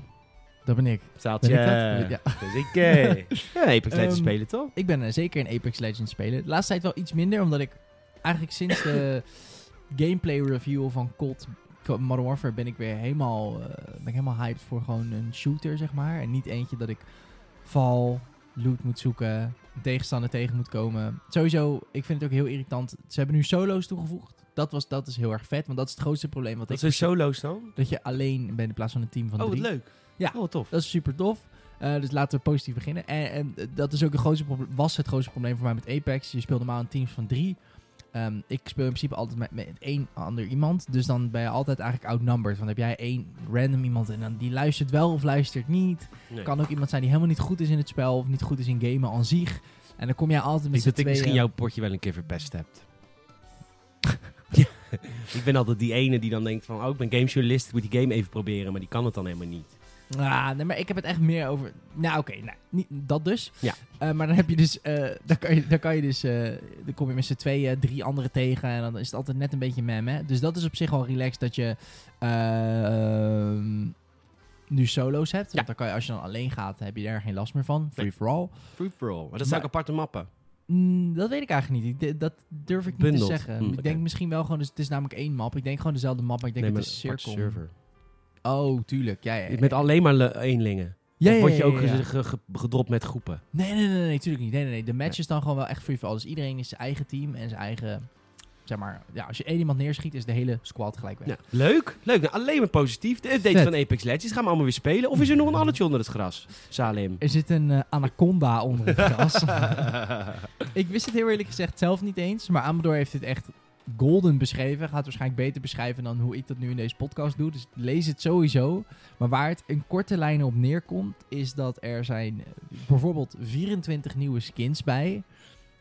Dat ben ik. Staat eh, Ben je? ik dat? Ja. Dus Zeker. Ja, Apex Legends Ehm, spelen toch? Ik ben eh, zeker een Apex Legends speler. De laatste tijd wel iets minder, omdat ik eigenlijk sinds de gameplay review van COD Co- Modern Warfare ben ik weer helemaal, eh, ben ik helemaal hyped voor gewoon een shooter, zeg maar. En niet eentje dat ik val, loot moet zoeken, een tegenstander tegen moet komen. Sowieso, ik vind het ook heel irritant. Ze hebben nu solo's toegevoegd. Dat, was, dat is heel erg vet, want dat is het grootste probleem wat Dat ik... zijn solo's dan? Dat je alleen bent in plaats van een team van Oh, wat drie. leuk. Ja. Oh, wat tof. Dat is super tof. Eh, dus laten we positief beginnen. En, en dat is ook het grootste probleem, was het grootste probleem voor mij met Apex. Je speelt normaal in teams van drie. Ehm, ik speel in principe altijd met, met één ander iemand. Dus dan ben je altijd eigenlijk outnumbered. Want heb jij één random iemand en dan die luistert wel of luistert niet. Nee. Kan ook iemand zijn die helemaal niet goed is in het spel of niet goed is in gamen aan zich. En dan kom jij altijd met Ik z'n dat ik tweeën. misschien jouw potje wel een keer verpest heb. ja. Ik ben altijd die ene die dan denkt van... Oh, ik ben gamejournalist, ik moet die game even proberen. Maar die kan het dan helemaal niet. Ah, nee, maar ik heb het echt meer over. Nou, oké, nou, niet, dat dus. Ja. Eh, maar dan heb je dus. eh, dan, kan je, dan kan je dus. eh, dan kom je met z'n tweeën, drie anderen tegen. En dan is het altijd net een beetje mem, hè? Dus dat is op zich wel relaxed dat je. ehm, nu solo's hebt. Ja. Want dan kan je, als je dan alleen gaat, heb je daar geen last meer van. Free Nee. for all. Free for all. Maar dat zijn ook Maar- aparte mappen. Mm, dat weet ik eigenlijk niet. Ik d- dat durf ik niet Bundled. te zeggen. Mm, ik oké. denk misschien wel gewoon. Dus het is namelijk één map. Ik denk gewoon dezelfde map. Maar ik denk maar het is een aparte cirkel. server. Oh, tuurlijk. Ja, ja, ja. Met alleen maar le- eenlingen. Ja, of ja, word je ja, ook ja, ja. ge- ge- ge- gedropt met groepen? Nee, nee, nee, nee, natuurlijk niet. Nee, nee, nee. De match is dan gewoon wel echt free for all. Dus iedereen is zijn eigen team en zijn eigen. Zeg maar, ja, als je één iemand neerschiet, is de hele squad gelijk weg. Nou, leuk. Leuk. Nou, alleen maar positief. De update Vet. van Apex Legends. Gaan we allemaal weer spelen? Of is er nog een addertje onder het gras? Salim. Er zit een eh, anaconda onder het gras. ik wist het heel eerlijk gezegd zelf niet eens. Maar Amador heeft dit echt golden beschreven. Gaat het waarschijnlijk beter beschrijven dan hoe ik dat nu in deze podcast doe. Dus lees het sowieso. Maar waar het in korte lijnen op neerkomt, is dat er zijn eh, bijvoorbeeld 24 nieuwe skins bij.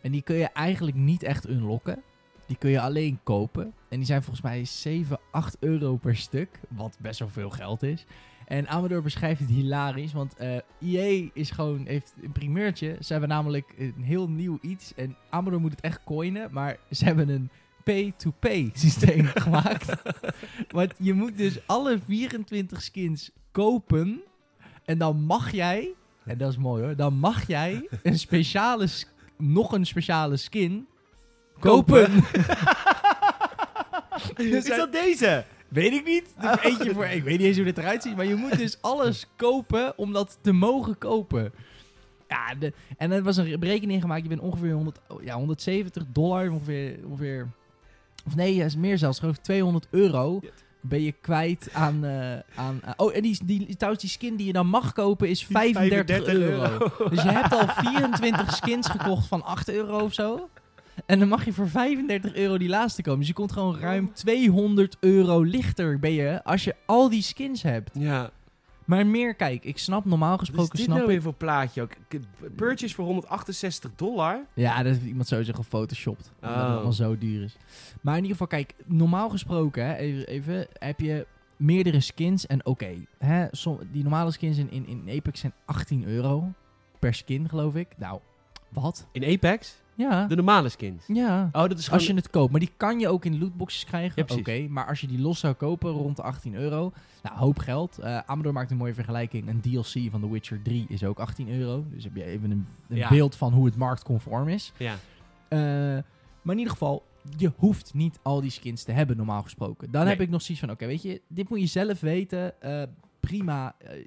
En die kun je eigenlijk niet echt unlocken. Die kun je alleen kopen. En die zijn volgens mij 7, 8 euro per stuk. Wat best wel veel geld is. En Amador beschrijft het hilarisch. Want eh EA is gewoon, heeft een primeurtje. Ze hebben namelijk een heel nieuw iets. En Amador moet het echt coinen. Maar ze hebben een pay-to-pay systeem gemaakt. Want je moet dus alle 24 skins kopen. En dan mag jij, en dat is mooi hoor, dan mag jij een speciale, sk- nog een speciale skin kopen. is dat deze? Weet ik niet. Dat is eentje voor. Ik weet niet eens hoe dit eruit ziet. Maar je moet dus alles kopen om dat te mogen kopen. Ja, de, en er was een berekening gemaakt. Je bent ongeveer 100, oh, ja, 170 dollar. Ongeveer, ongeveer. Of nee, ja, is meer zelfs. Geloof ik 200 euro. Ja. Ben je kwijt aan. eh, aan aan- oh, en die, die, trouwens, die skin die je dan mag kopen is 35, euro. Dus je hebt al 24 skins gekocht van 8 euro of zo. En dan mag je voor 35 euro die laatste komen. Dus je komt gewoon ruim 200 euro lichter ben je als je al die skins hebt. Ja. Maar meer, kijk, ik snap normaal Wat is gesproken, dit snap nou ik. weer voor plaatje ook? K- Purchase voor 168 dollar. Ja, dat heeft iemand sowieso gefotoshopt. Omdat het Oh. allemaal zo duur is. Maar in ieder geval, kijk, normaal gesproken, hè, even, even heb je meerdere skins. En oké, hè, som- die normale skins in, in, in Apex zijn 18 euro per skin, geloof ik. Nou, wat? In Apex? Ja, De normale skins. ja. Oh, dat is Als je het koopt. Maar die kan je ook in lootboxes krijgen. Ja, Oké, precies. maar als je die los zou kopen rond de 18 euro. Nou, hoop geld. Eh Amador maakt een mooie vergelijking. Een DLC van The Witcher 3 is ook 18 euro. Dus heb je even een, een Ja. beeld van hoe het marktconform is. Ja. Eh, maar in ieder geval, je hoeft niet al die skins te hebben, normaal gesproken. Dan Nee. heb ik nog zoiets van, oké, weet je, dit moet je zelf weten. Eh, prima, Eh, je-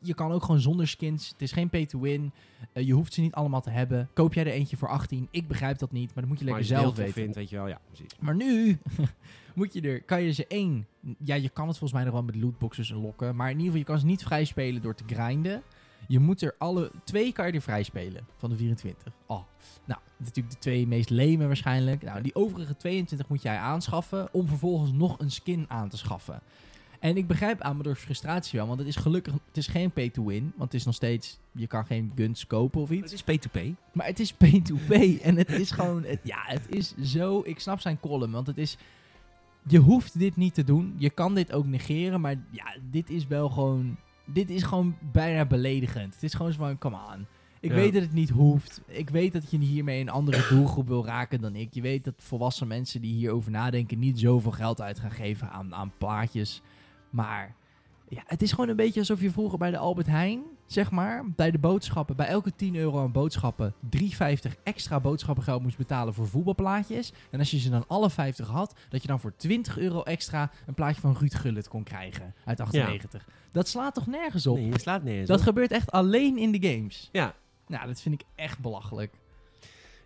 je kan ook gewoon zonder skins. Het is geen pay to win. Eh, je hoeft ze niet allemaal te hebben. Koop jij er eentje voor 18? Ik begrijp dat niet, maar dat moet je Maar lekker als je het heel tof zelf weten. vindt, weet je wel. Ja, precies. Maar nu moet je er, kan je ze één. Ja, je kan het volgens mij nog wel met lootboxes lokken. Maar in ieder geval, je kan ze niet vrij spelen door te grinden. Je moet er alle twee kan je er vrij spelen van de 24. Oh, nou, natuurlijk de twee meest leme waarschijnlijk. Nou, die overige 22 moet jij aanschaffen om vervolgens nog een skin aan te schaffen. En ik begrijp Amador's frustratie wel, want het is gelukkig het is geen pay-to-win. Want het is nog steeds, je kan geen guns kopen of iets. Het is P2P. Maar het is pay-to-pay en het is gewoon... Het, ja, het is zo... Ik snap zijn column, want het is... je hoeft dit niet te doen. Je kan dit ook negeren, maar ja, dit is wel gewoon... Dit is gewoon bijna beledigend. Het is gewoon zo van, come on. Ik Ja. weet dat het niet hoeft. Ik weet dat je hiermee een andere doelgroep wil raken dan ik. Je weet dat volwassen mensen die hierover nadenken niet zoveel geld uit gaan geven aan, aan plaatjes. Maar ja, het is gewoon een beetje alsof je vroeger bij de Albert Heijn, zeg maar, bij de boodschappen, bij elke 10 euro aan boodschappen, 3,50 extra boodschappengeld moest betalen voor voetbalplaatjes. En als je ze dan alle 50 had, dat je dan voor 20 euro extra een plaatje van Ruud Gullit kon krijgen uit 98. Dat slaat toch nergens op? Nee, je slaat nergens Dat op. gebeurt echt alleen in de games. Ja. Nou, dat vind ik echt belachelijk.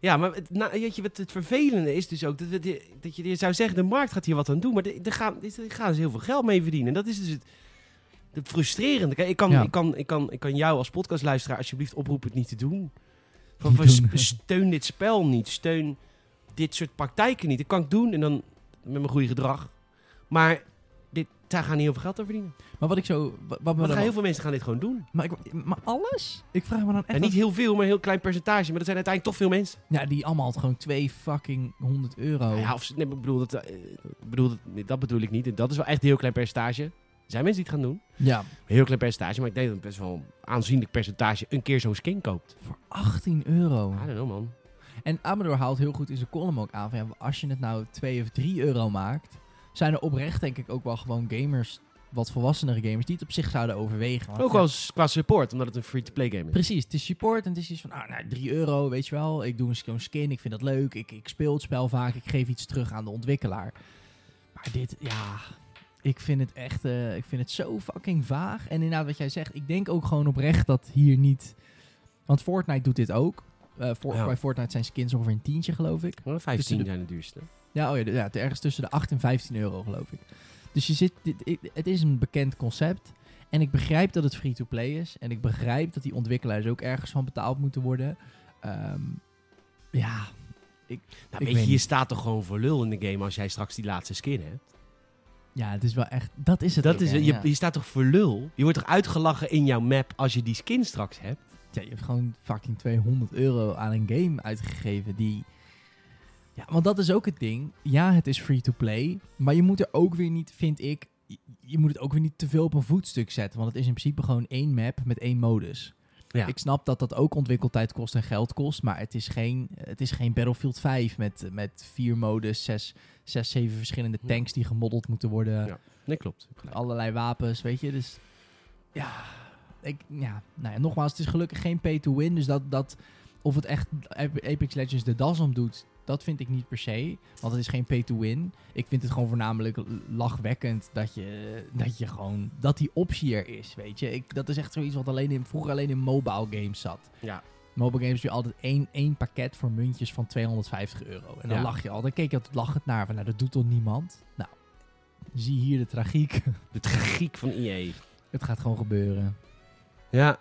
Ja, maar het, nou, weet je, wat het vervelende is dus ook dat, we di- dat je je zou zeggen, de markt gaat hier wat aan doen, maar de- er gaan, er gaan ze heel veel geld mee verdienen. En dat is dus het, het frustrerende. Kijk, ik kan, Ja. ik, kan, ik, kan, ik kan jou als podcastluisteraar alsjeblieft oproepen het niet te doen. Van, Niet van, sp- doen. steun dit spel niet, steun dit soort praktijken niet. Dat kan ik doen en dan met mijn goede gedrag. Maar dit, daar gaan heel veel geld aan verdienen. Maar wat ik zo... Wat, wat me Want dan, gaan heel veel mensen gaan dit gewoon doen. maar, ik, maar alles? Ik vraag me dan echt En niet af- heel veel, maar een heel klein percentage. Maar dat zijn uiteindelijk toch veel mensen. Ja, die allemaal had gewoon twee fucking 100 euro. Ja, of, ze- nee, maar ik bedoel, dat, eh, ik bedoel dat, nee, dat bedoel ik niet. En Dat is wel echt een heel klein percentage. Er zijn mensen die het gaan doen. ja. Een heel klein percentage, maar ik denk dat best wel een aanzienlijk percentage een keer zo'n skin koopt. Voor 18 euro. I don't know, man. En Amador haalt heel goed in zijn column ook aan van ja, als je het nou 2 of 3 euro maakt, zijn er oprecht denk ik ook wel gewoon gamers, wat volwassenere gamers, die het op zich zouden overwegen. Want, Ook ja, wel s- qua support, omdat het een free-to-play game is. Precies, het is support en het is iets van, ah, nou, 3 euro, weet je wel. Ik doe een sk- een skin, ik vind dat leuk, ik, ik speel het spel vaak, ik geef iets terug aan de ontwikkelaar. Maar dit, ja, ik vind het echt, eh, ik vind het zo fucking vaag. En inderdaad wat jij zegt, ik denk ook gewoon oprecht dat hier niet... Want Fortnite doet dit ook. Eh, voor, Ja. Bij Fortnite zijn skins ongeveer een tientje, geloof ik. Maar 15 zijn de duurste. Ja, oh ja, de- ja, het- ergens tussen de 8 en 15 euro, geloof ik. Dus je zit, dit, ik- het is een bekend concept. En ik begrijp dat het free-to-play is. En ik begrijp dat die ontwikkelaars ook ergens van betaald moeten worden. Ehm, ja, Nou, Ik weet je, weet je niet. staat toch gewoon voor lul in de game als jij straks die laatste skin hebt. ja, het is wel echt... Dat is het Dat ook, is, hè, je, ja. je staat toch voor lul? Je wordt toch uitgelachen in jouw map als je die skin straks hebt? Ja, je hebt gewoon fucking 200 euro aan een game uitgegeven die... Ja, want dat is ook het ding. Ja, het is free-to-play, maar je moet er ook weer niet, vind ik... je- Je moet het ook weer niet te veel op een voetstuk zetten, want het is in principe gewoon één map met één modus. Ja. Ik snap dat dat ook ontwikkeltijd kost en geld kost, maar het is geen, het is geen Battlefield 5 met, met vier modus, zes, zes, zeven verschillende Ja. tanks die gemoddeld moeten worden Nee, klopt. Gelijk. allerlei wapens, weet je. Dus ja, ik, ja, nou ja nogmaals, het is gelukkig geen pay-to-win. Dus dat, dat, of het echt Ap- Apex Legends de das om doet, dat vind ik niet per se. Want het is geen pay-to-win. Ik vind het gewoon voornamelijk l- lachwekkend dat je, dat je gewoon, dat die optie er is, weet je. Ik, dat is echt zoiets wat alleen in, vroeger alleen in mobile games zat. Ja. Mobile games doe je altijd één, één pakket voor muntjes van 250 euro. En dan Ja. lach je al. Dan keek je altijd lachend naar. Van, nou, dat doet toch niemand? Nou, zie hier de tragiek. De tragiek van E EA. Het gaat gewoon gebeuren. Ja,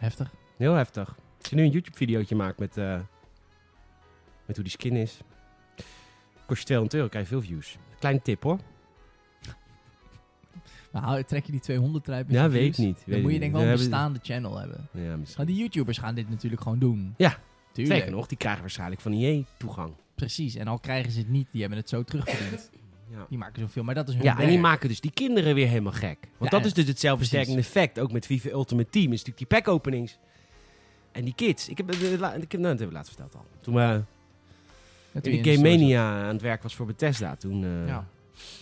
Heftig. Heel heftig. Als je nu een YouTube-videootje maakt met, eh, met hoe die skin is, kost je 200 euro, krijg je veel views. Kleine tip hoor. Maar hou, trek je die 200 eruit? met Ja, je weet views? ik niet. Dan Weet moet ik je niet. denk ik wel een Dan hebben- bestaande channel hebben. Ja, misschien. Maar die YouTubers gaan dit natuurlijk gewoon doen. Ja. tuurlijk. Sterker nog, die krijgen waarschijnlijk van IE toegang. Precies. En al krijgen ze het niet, die hebben het zo terugverdiend. Ja. Die maken zoveel, maar dat is hun Ja, en die werk. maken dus die kinderen weer helemaal gek. Want Ja, dat is dus het zelfversterkende effect. Ook met FIFA Ultimate Team is natuurlijk die pack-openings. En die kids. Ik heb, eh, de la- ik heb, nou, dat hebben we laatst verteld al. Toen we Dat doe in je de Game story Mania aan het werk was voor Bethesda, toen... eh, zo. Ja.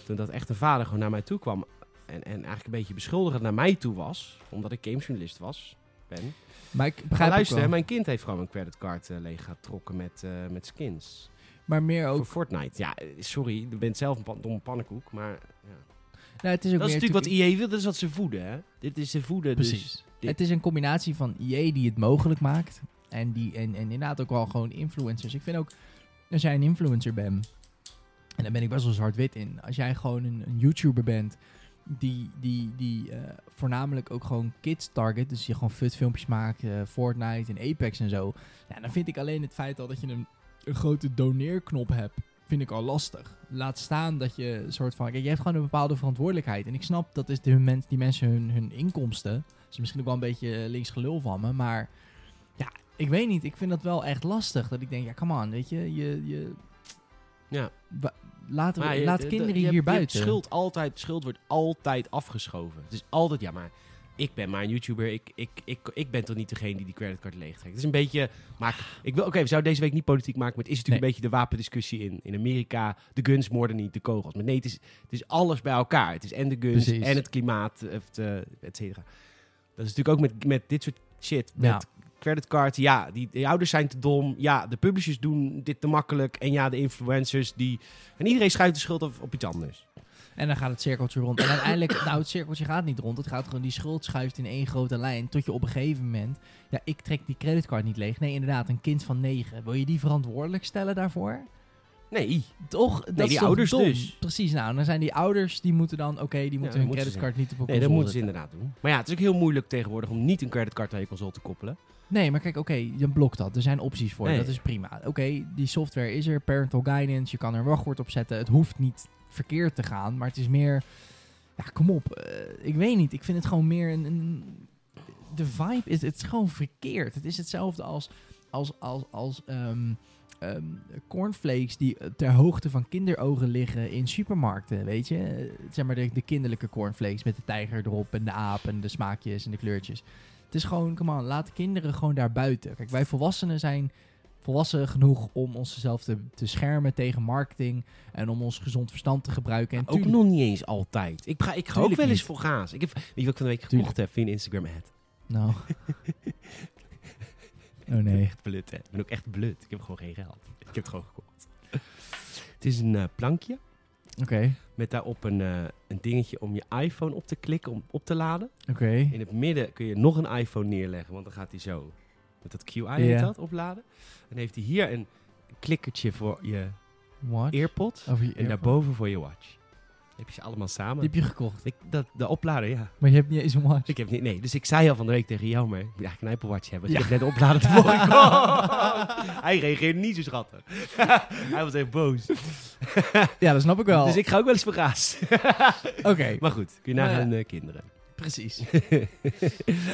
toen dat echt een vader gewoon naar mij toe kwam en, en eigenlijk een beetje beschuldigend naar mij toe was, omdat ik gamejournalist was, ben. Maar ik Ga begrijp ook luisteren, wel. mijn kind heeft gewoon een creditcard eh leeggetrokken met, eh, met skins. Maar meer ook... Voor Fortnite. Ja, eh, sorry, je bent zelf een pa- domme pannenkoek, maar ja. Nou, het is ook dat is meer natuurlijk wat IE wil, dat is wat ze voeden, hè. Dit is ze voeden, dus- Precies. dit- Het is een combinatie van EA die het mogelijk maakt. En, die, en, en inderdaad ook wel gewoon influencers. Ik vind ook, als jij een influencer bent, en daar ben ik best wel zwart-wit in. Als jij gewoon een, een YouTuber bent, die, die, die eh, voornamelijk ook gewoon kids target. Dus je gewoon fut filmpjes maakt, eh, Fortnite en Apex en zo. Ja, dan vind ik alleen het feit al dat je een, een grote doneerknop hebt, vind ik al lastig. Laat staan dat je een soort van, kijk, je hebt gewoon een bepaalde verantwoordelijkheid. En ik snap, dat is de, hun mens, die mensen hun, hun inkomsten. Dat is misschien ook wel een beetje eh, links gelul van me, maar ja, ik weet niet. Ik vind dat wel echt lastig. Dat ik denk, ja, come on, weet je, je, je, Ja. Wa- Laten we, je- laat de- de- kinderen je hebt- hier je hebt buiten. Schuld, altijd, schuld wordt altijd afgeschoven. Het is altijd, ja, maar ik ben maar een YouTuber. Ik, ik, ik, ik ben toch niet degene die die creditcard leegtrekt. Het is een beetje... Maar ik wil, oké, we zouden deze week niet politiek maken, maar het is natuurlijk Nee. een beetje de wapendiscussie in, in Amerika. De guns moorden niet de kogels. Maar nee, het is, het is alles bij elkaar. Het is en de guns Precies. en het klimaat, eh, het, eh, et cetera. Dat is natuurlijk ook met, met dit soort shit, met Ja. creditcard. Ja, die, die ouders zijn te dom. Ja, de publishers doen dit te makkelijk. En ja, de influencers die... En iedereen schuift de schuld op, op iets anders. En dan gaat het cirkeltje rond. En uiteindelijk, nou, het cirkeltje gaat niet rond. Het gaat gewoon, die schuld schuift in één grote lijn. Tot je op een gegeven moment, ja, ik trek die creditcard niet leeg. Nee, inderdaad, een kind van negen. Wil je die verantwoordelijk stellen daarvoor? Nee. Toch? Dat Nee, is die toch ouders dom? dus. Precies, nou, dan zijn die ouders, die moeten dan, oké, die moeten dat hun moeten ze creditcard niet op een nee, dat console moeten ze zetten. inderdaad doen. Maar ja, het is ook heel moeilijk tegenwoordig om niet een creditcard aan je console te koppelen. Nee, maar kijk, oké, dan blokt dat. Er zijn opties voor, Nee. dat is prima. Oké, die software is er, parental guidance, je kan er een wachtwoord op zetten. Het hoeft niet verkeerd te gaan, maar het is meer... Ja, kom op, eh, ik weet niet. Ik vind het gewoon meer een... een- de vibe is, het is gewoon verkeerd. Het is hetzelfde als, als, als, als ehm, ehm, cornflakes die eh, ter hoogte van kinderogen liggen in supermarkten, weet je? Eh, Zeg maar de, de kinderlijke cornflakes met de tijger erop en de aap en de smaakjes en de kleurtjes. Het is gewoon, come on, laat de kinderen gewoon daar buiten. Kijk, wij volwassenen zijn volwassen genoeg om onszelf te, te schermen tegen marketing en om ons gezond verstand te gebruiken. En Ook tuurlijk- nog niet eens altijd. Ik ga, ik ga ook Tuurlijk wel eens niet. voor gaas. Ik heb, weet je wat ik van de week Tuurlijk. gekocht heb via een Instagram-ad? Nou. oh nee. Echt blut, hè? Ik ben ook echt blut. Ik heb gewoon geen geld. Ik heb het gewoon gekocht. Het is een eh, plankje Oké, met daarop een, eh, een dingetje om je iPhone op te klikken, om op te laden. oké. In het midden kun je nog een iPhone neerleggen, want dan gaat hij zo met dat QI heet Ja. dat, opladen. En heeft hij hier een klikkertje voor je What? AirPod Over je en earphone. daarboven voor je watch. Dan heb je ze allemaal Die samen. heb je gekocht. Ik, dat, de oplader, ja. Maar je hebt niet eens een watch. Ik heb niet, nee, dus ik zei al van de week tegen jou, maar ik moet eigenlijk een Apple Watch hebben. Dus Ja. Ik heb net de oplader tevoren gekomen. Hij reageerde niet zo schattig. Hij was echt boos. Ja, dat snap ik wel. Dus ik ga ook wel eens verrast. Oké, maar goed, kun je Maar ja. nagaan eh, kinderen. precies. En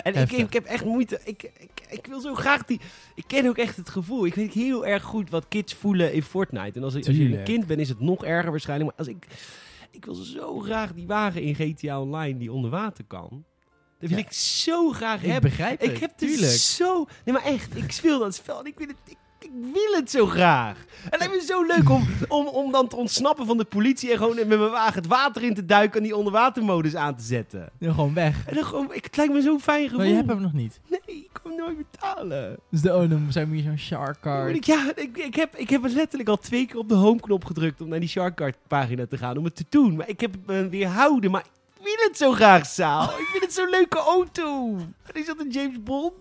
ik, Heftig. ik heb echt moeite. Ik, ik, ik wil zo graag die. Ik ken ook echt het gevoel. Ik weet heel erg goed wat kids voelen in Fortnite. En als, ik- als je een Tuurlijk. kind bent, is het nog erger waarschijnlijk. Maar als ik. Ik wil zo graag die wagen in GTA Online die onder water kan. Dat wil Ja. ik zo graag ik hebben. begrijp het. Ik heb dus tuurlijk. zo... Nee, maar echt. Ik speel dat spel en ik wil het... Ik, ik wil het zo graag. En het lijkt me zo leuk om, om, om dan te ontsnappen van de politie... en gewoon met mijn wagen het water in te duiken... en die onderwatermodus aan te zetten. Ja, gewoon weg. En dan gewoon... Ik, het lijkt me zo'n fijn gevoel. Maar je hebt hem nog niet. Nee, ik kan hem nooit betalen. Dus de, oh, dan zijn we hier zo'n shark Dan moet card. Ik, ja, ik, ik, heb, ik heb het letterlijk al twee keer op de homeknop gedrukt... om naar die Sharkcard pagina te gaan, om het te doen. Maar ik heb het me weerhouden, maar... Ik wil het zo graag, Saal. Ik vind het zo'n leuke auto. En is dat een James Bond?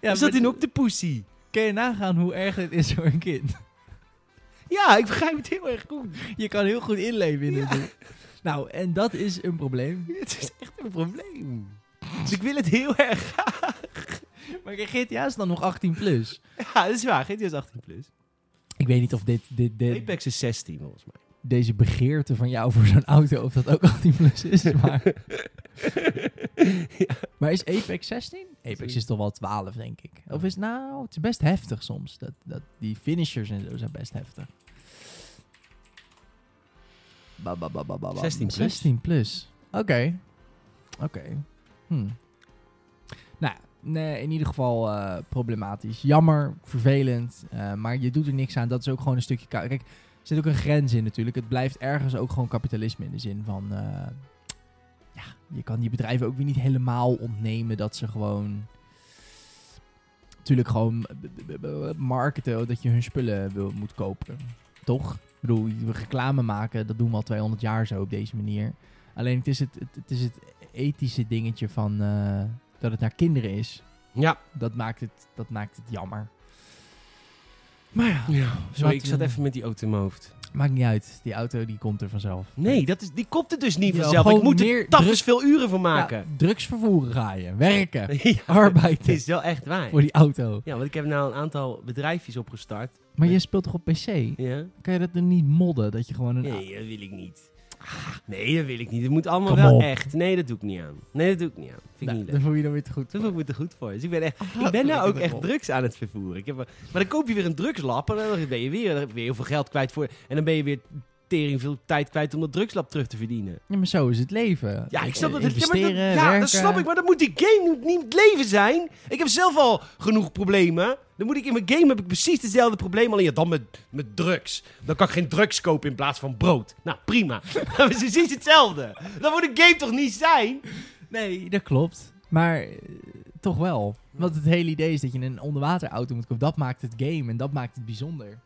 Ja, is dat maar in Octopussy? Kan je nagaan hoe erg het is voor een kind? Ja, ik begrijp het heel erg goed. Je kan heel goed inleven in dit ding. Nou, en dat is een probleem. Het is echt een probleem. Dus ik wil het heel erg. Maar kijk, GTA is dan nog 18 plus. Ja, dat is waar. GTA is 18 plus. Ik weet niet of dit, dit, dit- Apex is 16 volgens mij. deze begeerte van jou voor zo'n auto, of dat ook 18 plus is. Maar, maar is Apex 16? Apex is toch wel 12, denk ik. Of is nou, het is best heftig soms. Dat, dat, die finishers en zo zijn best heftig. Ba, ba, ba, ba, ba, ba. 16 plus. 16 plus. Oké. Oké. Hm. Nou, nee, in ieder geval eh, problematisch. Jammer, vervelend, eh, maar je doet er niks aan. Dat is ook gewoon een stukje... kou- Kijk, er zit ook een grens in natuurlijk. Het blijft ergens ook gewoon kapitalisme in de zin van... eh, ja, je kan die bedrijven ook weer niet helemaal ontnemen dat ze gewoon... Natuurlijk gewoon b- b- b- marketen dat je hun spullen wil, moet kopen. Toch? Ik bedoel, reclame maken, dat doen we al 200 jaar zo op deze manier. Alleen het is het, het, het is het ethische dingetje van eh, dat het naar kinderen is. Ja. Dat maakt het, dat maakt het jammer. Maar ja, Sorry, ik zat even met die auto in mijn hoofd. maakt niet uit. Die auto die komt er vanzelf. Nee, dat is, die komt er dus niet Ja, vanzelf. Ik gewoon moet er meer tafels druk- veel uren van Ja, maken. drugs vervoeren ga je. Werken. Ja, het Arbeiden. is wel echt waar. Voor die auto. Ja, want ik heb nou een aantal bedrijfjes opgestart. Maar je speelt toch op PC? Ja? Kan je dat dan niet modden? Dat je gewoon een... Nee, dat wil ik niet. Nee, dat wil ik niet. Het moet allemaal Kom wel op. echt. Nee, dat doe ik niet aan. Nee, dat doe ik niet aan. Vind ik Nou, Oh, niet leuk. daar voel je dan weer te Dat goed. voor. voel ik me te goed voor. Dus ik ben, echt, ik ben nou ook echt drugs aan het vervoeren. Ik heb, maar maar dan koop je weer een drugslab en dan ben je weer, dan ben je heel veel geld kwijt voor. En dan ben je weer tering veel tijd kwijt om dat drugslab terug te verdienen. Ja, maar zo is het leven. Ja, ik snap dat. Eh, ja, maar dat- Investeren, ja, werken. dat snap ik. Maar dat moet die game moet niet het leven zijn. Ik heb zelf al genoeg problemen. Dan moet ik in mijn game heb ik precies dezelfde probleem. Alleen ja, dan met, met drugs. Dan kan ik geen drugs kopen in plaats van brood. Nou, prima. Dat is precies hetzelfde. Dan moet een game toch niet zijn? Nee, dat klopt. Maar eh, toch wel. Want het hele idee is dat je een onderwaterauto moet kopen. Dat maakt het game en dat maakt het bijzonder.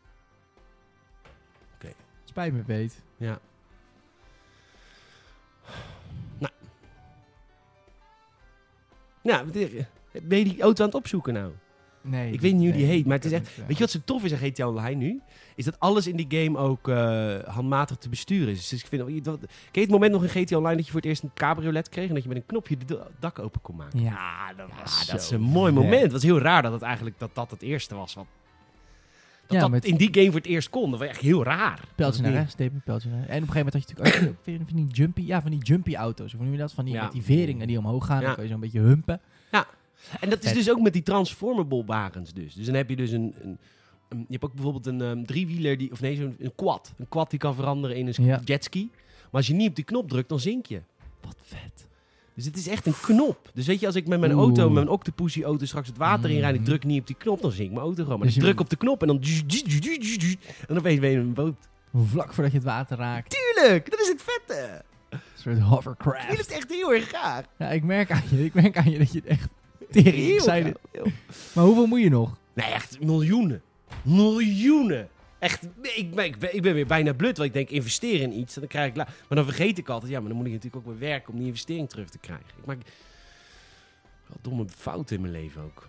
Oké. Spijt me, Peet. Ja. Nou. Nou, wat- ben je die auto aan het opzoeken nou? Nee. Ik weet niet hoe die nee, heet, maar het is dat echt- niet, ja. Weet je wat zo tof is aan GTA Online nu? Is dat alles in die game ook eh, handmatig te besturen is. Dus ik vind... dat- Ken je het moment nog in GTA Online dat je voor het eerst een cabriolet kreeg... en dat je met een knopje het dak open kon maken? Ja, Ah, dat Ja, was dat is zo een mooi vet. moment. Het was heel raar dat het eigenlijk dat, dat het eerste was. Wat, dat Ja, dat met- in die game voor het eerst kon. Dat was echt heel raar. Pijltje naar Dat- rechts, tape, pijltje naar En op een gegeven moment had je natuurlijk ook van- van die jumpy, ja, van die jumpy auto's. Hoe noem je dat? Van die, Ja. met die veringen die omhoog gaan. Ja. Dan kan je zo'n beetje humpen. En dat is Vet. dus ook met die transformable wagens dus. Dus dan heb je dus een... een een- je hebt ook bijvoorbeeld een ehm, driewieler, die, of nee, zo'n een quad. Een quad die kan veranderen in een sk- Ja. jetski. Maar als je niet op die knop drukt, dan zink je. Wat vet. Dus het is echt een knop. Dus weet je, als ik met mijn Oeh. auto, met mijn octopussy auto straks het water inrijd, ik Mhm. druk niet op die knop, dan zinkt mijn auto gewoon. Maar Dus ik je- druk op de knop en dan... En opeens ben je in een boot. Vlak voordat je het water raakt. Tuurlijk, dat is het vette. Een soort Ik wil hovercraft. het echt heel erg graag. Ja, ik merk aan je, ik merk aan je dat je het echt tering Heel excited- graag. Heel- Maar hoeveel moet je nog? Nee, echt miljoenen. Miljoenen. Echt, ik ben, ik, ben, ik ben weer bijna blut. Want ik denk, investeren in iets, dan krijg ik... la- Maar dan vergeet ik altijd, ja, maar dan moet ik natuurlijk ook weer werken om die investering terug te krijgen. Ik maak wel domme fouten in mijn leven ook.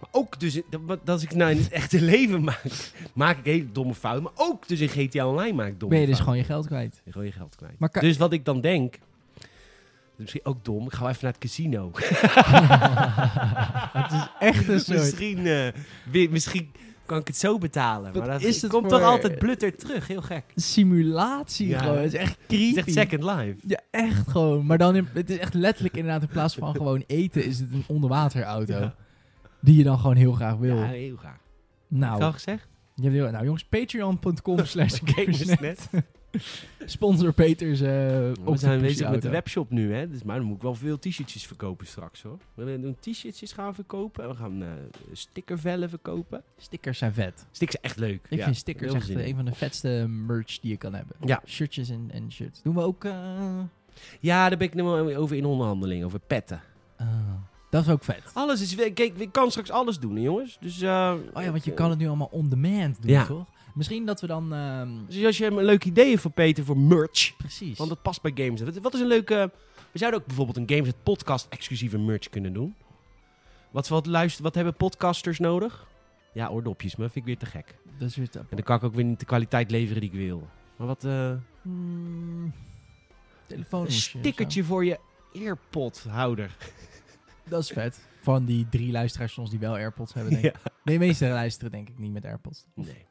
Maar ook dus, in- dat, wat- als ik nou in het echte leven maak, maak ik hele domme fouten. Maar ook dus in GTA Online maak ik domme Ben je dus fouten. gewoon je geld kwijt? Dan gooi je geld kwijt. Maar kan- Dus wat ik dan denk, dat is misschien ook dom, ik ga wel even naar het casino. Het is echt een soort... Misschien, eh, wi- misschien kan ik het zo betalen. Wat maar dat is het komt voor- toch altijd blutter terug. Heel gek. Simulatie Ja. gewoon. Het is echt Het creepy. is echt Second Life. Ja, echt gewoon. Maar dan, in- het is echt letterlijk inderdaad in plaats van gewoon eten, is het een onderwaterauto. Ja. Die je dan gewoon heel graag wil. Ja, heel graag. Heb ik al nou, gezegd? je hebt heel, nou jongens, patreon.com slash gamersnet. Gamersnet. Sponsor Peters eh We zijn octopusauto. bezig met de webshop nu, hè. Dus, maar dan moet ik wel veel t-shirtjes verkopen straks, hoor. We willen doen t-shirtjes gaan verkopen. We gaan eh, stickervellen verkopen. Stickers zijn vet. Stickers zijn echt leuk. Ik ja. vind stickers Heel echt veel zin eh, in. een van de vetste merch die je kan hebben. Ja. Shirtjes en, en shirts. Doen we ook... eh, Ja, daar ben ik nu wel over in onderhandeling. Over petten. ah, dat is ook vet. Alles is... Kijk, ik kan straks alles doen, hè, jongens. Dus... eh, Oh ja, want je eh, kan het nu allemaal on demand doen, Ja. toch? Misschien dat we dan... ehm, Dus als je een leuk idee hebt voor Peter, voor merch... precies. Want dat past bij Games. Wat, wat is een leuke... We zouden ook bijvoorbeeld een Games het podcast exclusieve merch kunnen doen. Wat, wat, luister, wat hebben podcasters nodig? Ja, oordopjes, maar vind ik weer te gek. dat is weer te En apart. dan kan ik ook weer niet de kwaliteit leveren die ik wil. Maar wat... eh, Hmm, een eh, telefoonhoesje of stickertje voor je earpodhouder. zo. Dat is vet. Van die drie luisteraars van ons die wel AirPods hebben, denk ik. Ja. Nee, de meeste luisteren denk ik niet met AirPods. Nee.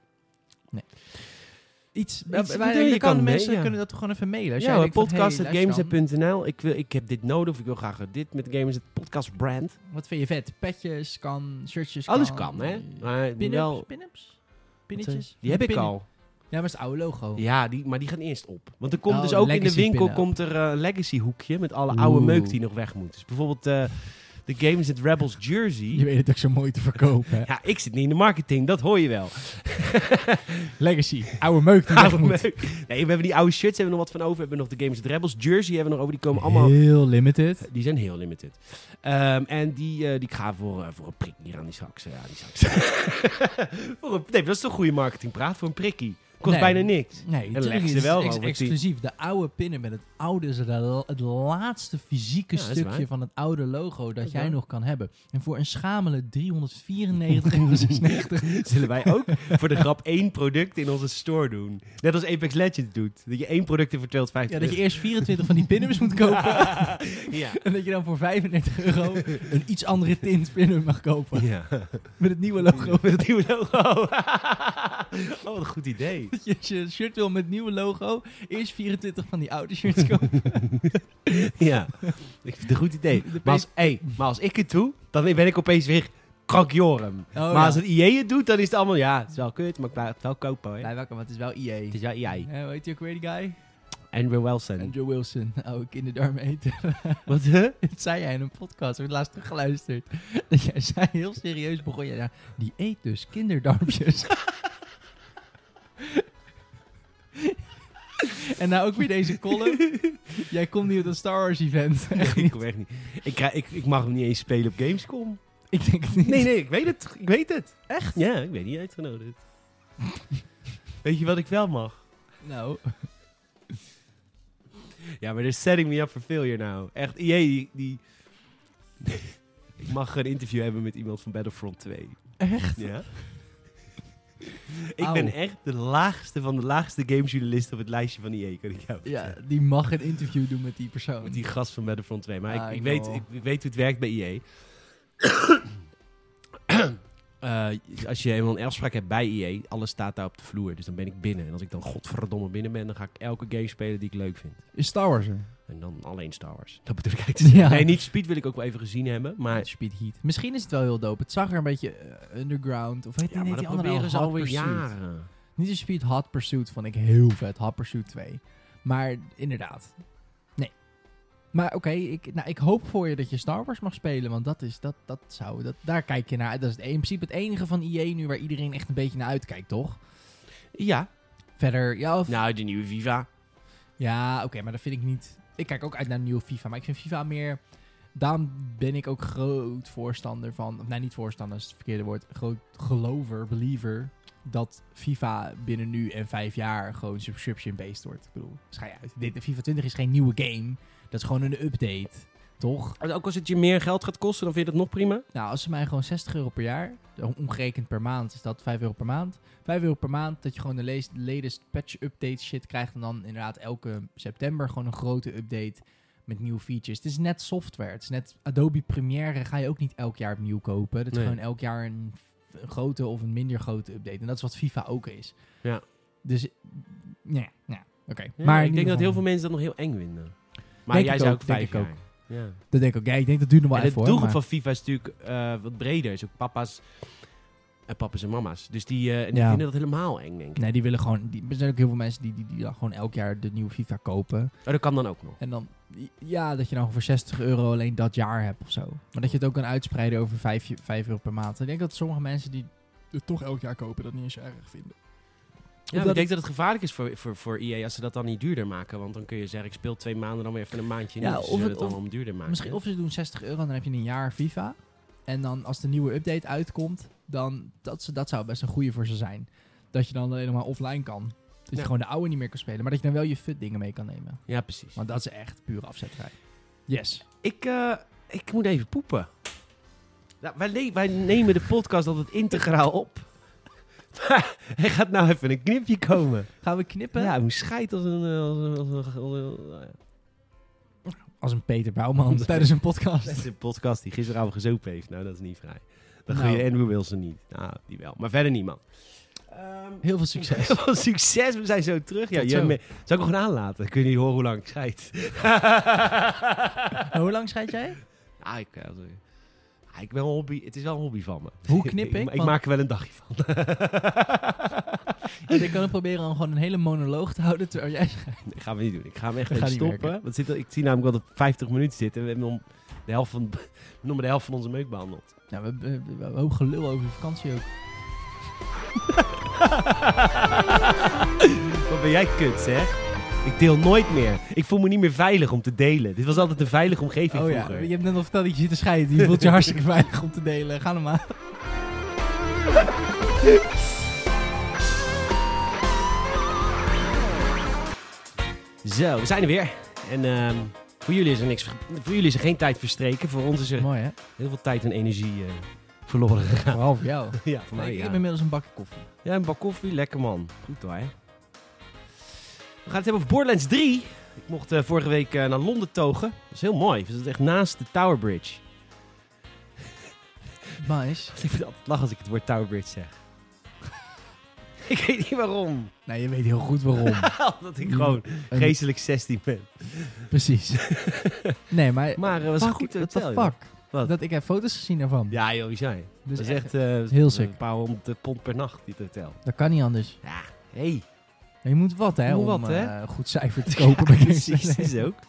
Iets, Ja, iets maar je wij- kan dan kan de mee, mensen ja. kunnen dat toch gewoon even mailen. Als jij Ja, denkt van, hey, luister dan, podcast.games.nl. Ik, wil- ik heb dit nodig. Of ik wil graag eh, dit met Games het podcast brand. Wat vind je vet? Petjes, kan, shirtjes, Alles kan, kan, hè? eh, Maar het moet Pin-ups, wel... pin-ups? wat, eh, Pinnetjes? Die heb ik Pinnen. al. Ja, maar het is het oude logo. Ja, die, maar die gaan eerst op. Want er komt Oh, dus een ook in de legacy winkel pin-up. komt er eh, een legacy hoekje met alle oude Oeh. meuk die nog weg moet. Dus bijvoorbeeld eh, de Games at Rebels Je jersey. weet het ook zo mooi te verkopen. hè? Ja, ik zit niet in de marketing, dat hoor je wel. Legacy, oude meuk die Oude weg moet. meuk. Nee, we hebben die oude shirts, hebben we nog wat van over. We hebben nog de Games at Rebels jersey, hebben we nog over. Die komen allemaal... Heel limited. Die zijn heel limited. Ehm, en die, eh, die ik ga voor, eh, voor een prik hier aan die saks. Ja, die saks. voor een, nee, dat is toch goede marketingpraat? Voor een prikkie. Kost Nee. bijna niks. Nee, leg natuurlijk ze is wel het ex- over, want die- exclusief. De oude pinnen met het oude is de- het laatste fysieke Ja, dat is waar. stukje van het oude logo dat, is jij waar. nog kan hebben. En voor een schamele 394,96 Zullen wij ook voor de grap één product in onze store doen? Net als Apex Legends doet. Dat je één product in voor 250 Ja, dat je eerst 24 van die pinups moet kopen. Ja. En dat je dan voor 35 euro een iets andere tint pinup mag kopen. Ja. Met het nieuwe logo. Met het nieuwe logo. Oh, wat een goed idee. Dat je als je een shirt wil met nieuwe logo, eerst 24 van die oude shirts kopen. ja, ik vind het een goed idee. De Maar als, hey, maar als ik het doe, dan ben ik opeens weer krankjorum. Oh, maar ja. als het IE het doet, dan is het allemaal, ja, het is wel kut, maar ik blijf het wel kopen. Hè. Blij wakker, want het is wel EA. Het is E. wel IE. Eh, hoe heet die ook weer, die guy? Andrew Wilson. Andrew Wilson, oude kinderdarm eten. Wat, hè? Dat zei jij in een podcast, we hebben laatst teruggeluisterd. Dat jij zei, heel serieus begon je daar, die eet dus kinderdarmpjes. en nou ook weer deze column. Jij komt niet op dat Star Wars event. Echt Ik niet. kom echt niet. Ik, krijg, ik, ik mag hem niet eens spelen op Gamescom. Ik denk het niet. Nee, nee, ik weet het. Ik weet het. Echt? Ja, ik ben niet uitgenodigd. weet je wat ik wel mag? Nou, Ja, maar they're setting me up for failure nou. Echt, IE, die... die- ik mag een interview hebben met iemand van Battlefront 2. echt? Ja. ik Auw. ben echt de laagste van de laagste gamejournalisten op het lijstje van IE, kan ik jou Ja, vertellen. die mag een interview doen met die persoon. Met die gast van Battlefront 2. Maar Ah, ik, ik ik, weet, wel. ik, ik weet hoe het werkt bij E EA. Eh, als je eenmaal een afspraak hebt bij EA, alles staat daar op de vloer. Dus dan ben ik binnen. En als ik dan godverdomme binnen ben, dan ga ik elke game spelen die ik leuk vind. Is Star Wars er? En dan alleen Star Wars. Dat bedoel ik eigenlijk te zeggen. Ja. Nee, niet Speed wil ik ook wel even gezien hebben. Maar, Speed Heat. Misschien is het wel heel dope. Het zag er een beetje eh, underground. Of heet ja, die, maar heet dat die proberen andere ze nou? Hot alweer Pursuit? jaren. Niet de Speed Hot Pursuit vond ik heel vet. Hot Pursuit 2. Maar inderdaad. Nee. Maar oké, ik, nou, ik hoop voor je dat je Star Wars mag spelen. Want dat is, dat, dat zou, dat, daar kijk je naar. uit. Dat is het- in principe het enige van IE nu waar iedereen echt een beetje naar uitkijkt, toch? Ja. Verder, ja, of- Nou, de nieuwe Viva. ja oké, maar dat vind ik niet... Ik kijk ook uit naar een nieuwe FIFA. Maar ik vind FIFA meer... Daarom ben ik ook groot voorstander van... Of nee, niet voorstander is het verkeerde woord. Groot gelover, believer... Dat FIFA binnen nu en vijf jaar gewoon subscription-based wordt. Ik bedoel, schijn uit. Dit, de FIFA 20 is geen nieuwe game. Dat is gewoon een update. Toch? Ook als het je meer geld gaat kosten, dan vind je dat nog prima. Nou, als ze mij gewoon 60 euro per jaar... om- Omgerekend per maand is dat 5 euro per maand. 5 euro per maand dat je gewoon de lees- latest patch-update shit krijgt. En dan inderdaad elke september gewoon een grote update met nieuwe features. Het is net software. Het is net Adobe Premiere ga je ook niet elk jaar opnieuw kopen. Dat is Nee. gewoon elk jaar een, een grote of een minder grote update. En dat is wat FIFA ook is. Ja. Dus, ja, ja oké. Ja, maar ik denk dat heel veel mensen... mensen dat nog heel eng vinden. Maar Denk jij ik zou ook, ook denk vijf ik ook. jaar. Ja. Dat denk ik ook. Ja, ik denk dat duurt nog wel En even het hoor. doelgroep maar- van FIFA is natuurlijk eh, wat breder. Is ook papa's en papa's en mama's. Dus die, eh, en die Ja. vinden dat helemaal eng, denk ik. Nee, die willen gewoon... Die, er zijn ook heel veel mensen die, die, die dan gewoon elk jaar de nieuwe FIFA kopen. Oh, dat kan dan ook nog. En dan... Ja, dat je nou voor 60 euro alleen dat jaar hebt of zo. Maar dat je het ook kan uitspreiden over 5, euro per maand. Ik denk dat sommige mensen die het toch elk jaar kopen dat niet eens erg vinden. Ja, maar dat- ik denk dat het gevaarlijk is voor, voor, voor EA als ze dat dan niet duurder maken. Want dan kun je zeggen, ik speel twee maanden, dan weer even een maandje Ja, niet. Dus of ze zullen het- het of- dan om duurder maken. Misschien of ze doen 60 euro en dan heb je een jaar FIFA. En dan als de nieuwe update uitkomt, dan dat, ze, dat zou best een goede voor ze zijn. Dat je dan alleen nog maar offline kan. Dat je Ja. gewoon de oude niet meer kan spelen, maar dat je dan wel je fut dingen mee kan nemen. Ja, precies. Want dat is echt puur afzetrij. Yes. Ik, eh, ik moet even poepen. Nou, wij, le- wij nemen de podcast altijd integraal op. Maar er gaat nou even een knipje komen. Gaan we knippen? Ja, hoe scheidt als een... eh, Als een, als een, als een- nou ja. Als een Peter Bouwman tijdens een Dat is podcast. een podcast die gisteravond gezopen heeft. Nou, dat is niet vrij. Dan Nou. gun je Andrew Wilson niet. Nou, die wel. Maar verder niemand. Heel veel succes. Heel veel succes. We zijn zo terug. Ja, Ehm, Tot je zo. me- Zal ik hem gewoon aanlaten? Dan kun je niet horen hoe lang ik scheid. Hoe lang scheid jij? ah, ik, also, ah, ik ben een hobby. Het is wel een hobby van me. Hoe knip ik? Ik, Want- maak er wel een dagje van. Ik kan ook proberen om gewoon een hele monoloog te houden terwijl jij Nee, gaan we niet doen. Ik ga hem echt Dat even gaat niet stoppen. Want zit, ik zie namelijk wel dat het 50 minuten zit. En we hebben om de helft van, we hebben nog maar de helft van onze meuk behandeld. Nou, we hebben we hebben een hoop gelul over vakantie ook. Wat ben jij kut, zeg? Ik deel nooit meer. Ik voel me niet meer veilig om te delen. Dit was altijd een veilige omgeving Oh ja, vroeger. je hebt net al verteld dat je zit te scheiden. Je voelt je hartstikke veilig om te delen. Ga hem maar. Zo, we zijn er weer. En ehm, voor, jullie is er niks, voor jullie is er geen tijd verstreken. Voor ons is er Mooi hè? heel veel tijd en energie eh, verloren gegaan. Vooral voor jou. Ja, voor ik, mij ik ja. heb inmiddels een bakje koffie. Ja, een bak koffie. Lekker man. Goed hoor. hè? We gaan het hebben over Borderlands 3. Ik mocht eh, vorige week eh, naar Londen togen. Dat is heel mooi. We zitten echt naast de Tower Bridge. Nice. Ik vind het altijd lachen als ik het woord Tower Bridge zeg. ik weet niet waarom. Nou, je weet heel goed waarom. Omdat ik gewoon Een- geestelijk 16 ben. Precies. nee, maar... Maar eh, was fuck, een goed what the hotel. joh. fuck? Wat? Dat ik heb foto's gezien daarvan. Ja, joh, wie zei? Dus dat is echt- eh, echt eh, heel sick. Een paar honderd pond per nacht, dit hotel. Dat kan niet anders. Ja, hey. Je moet wat, hè, Moet om wat, hè? eh, een goed cijfer te Ja, kopen. bij deze. precies, dat is ook.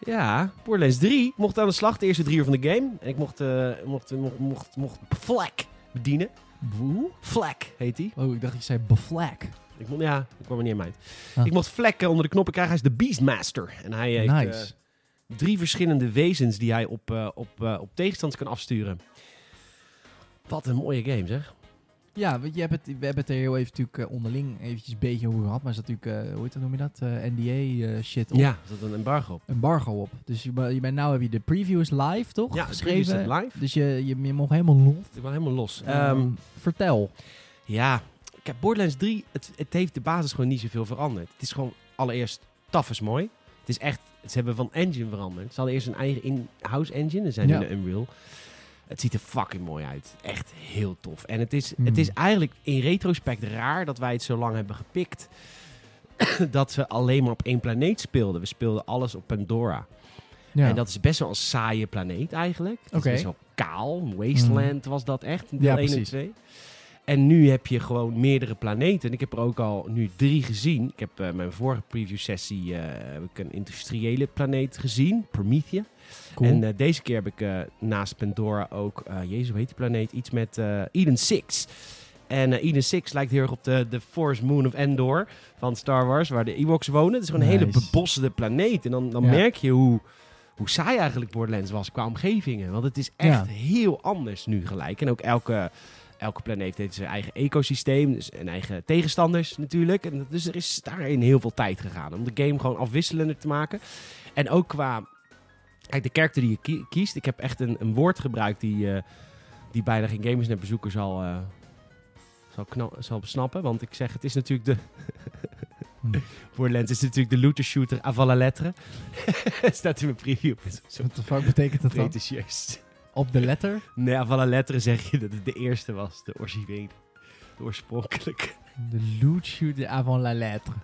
Ja, Borderlands 3 mocht aan de slag de eerste drie uur van de game. En ik mocht, eh mocht, mocht, mocht, mocht Flack bedienen. Boe? Flack heet hij. Oh, ik dacht ik zei beflak. Ik mo- ja, ik kwam er niet in mind. Ah. Ik mocht Flack eh, onder de knoppen krijgen. Hij is de Beastmaster. En hij heeft eh, Nice. drie verschillende wezens die hij op, eh, op, eh, op tegenstanders kan afsturen. Wat een mooie game, zeg. Ja, want je hebt het, we hebben het er heel even natuurlijk eh, onderling eventjes een beetje over gehad. Maar er zat natuurlijk, eh hoe heet dat, noem je dat? Eh, NDA eh shit op. Ja, er zat een embargo op. Embargo op. Dus je, be- je bent, nou heb je de preview is live, toch? Ja, Geschreven. geschreven is dat live. Dus je, je, je mocht helemaal los. Ik ben helemaal los. Ehm, Ehm, vertel. Ja, kijk, Borderlands 3, het, het heeft de basis gewoon niet zoveel veranderd. Het is gewoon allereerst, taf is mooi. Het is echt, ze hebben van engine veranderd. Ze hadden eerst een eigen in-house engine, en zijn Ja. nu naar Unreal. Het ziet er fucking mooi uit. Echt heel tof. En het is, Hmm. het is eigenlijk in retrospect raar dat wij het zo lang hebben gepikt. dat ze alleen maar op één planeet speelden. We speelden alles op Pandora. Ja. En dat is best wel een saaie planeet eigenlijk. Het Oké. Mm. is best wel kaal. Een Wasteland was dat echt. in Deel Ja, 1 precies. en 2. En nu heb je gewoon meerdere planeten. En ik heb er ook al nu drie gezien. Ik heb eh, mijn vorige preview sessie eh, heb ik een industriële planeet gezien. Promethea. cool. En eh, deze keer heb ik eh, naast Pandora ook... eh Jezus, hoe heet die planeet? Iets met eh, Eden 6. En eh, Eden 6 lijkt heel erg op de, de Force Moon of Endor van Star Wars, waar de Ewoks wonen. Het is gewoon een hele Nice. bebossende planeet. En dan, dan Ja. merk je hoe, hoe saai eigenlijk Borderlands was qua omgevingen. Want het is echt Ja. heel anders nu gelijk. En ook elke, elke planeet heeft zijn eigen ecosysteem dus en eigen tegenstanders natuurlijk. En dat- dus er is daarin heel veel tijd gegaan om de game gewoon afwisselender te maken. En ook qua kijk, de character die je kie- kiest. Ik heb echt een, een woord gebruikt die, eh, die bijna geen gamers en bezoeker zal, eh, zal, kna- zal snappen. Want ik zeg, het is natuurlijk de... Hmm. Voor Lens is het natuurlijk de looter shooter avant la lettre. Staat in mijn preview. Zo What the fuck betekent dat dan? pretentieus. Op de letter? Nee, avant la lettre zeg je dat het de eerste was. De originele. De oorspronkelijke. De loot shooter avant la lettre.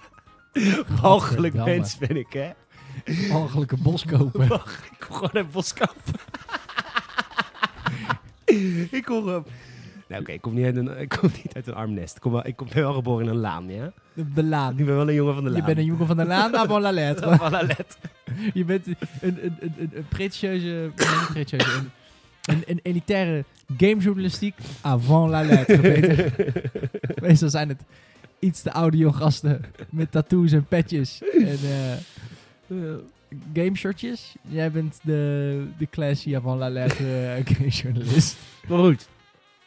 Walgelijk Godverdamme. mens ben ik, hè? Walgelijke boskoper. Wacht, ik kom gewoon uit Boskamp. ik kom gewoon... Nou oké, ik kom niet uit een, ik kom niet uit een armnest. Ik, kom wel, ik kom- ben wel geboren in een laan, ja? Ah, Op de laan. Nu ben ik wel een jongen van de laan. Je bent een jongen van de laan avant la lettre. van la lettre. Je bent een, een, een, een, een prestigieuze, nee, niet prestigieuze, een, een, een elitaire gamejournalistiek avant la lettre. Peter. Meestal zijn het iets te oude jonggasten met tattoos en petjes en eh gameshirtjes. Jij bent de, de classy avant la lettre eh, gamejournalist. Maar goed,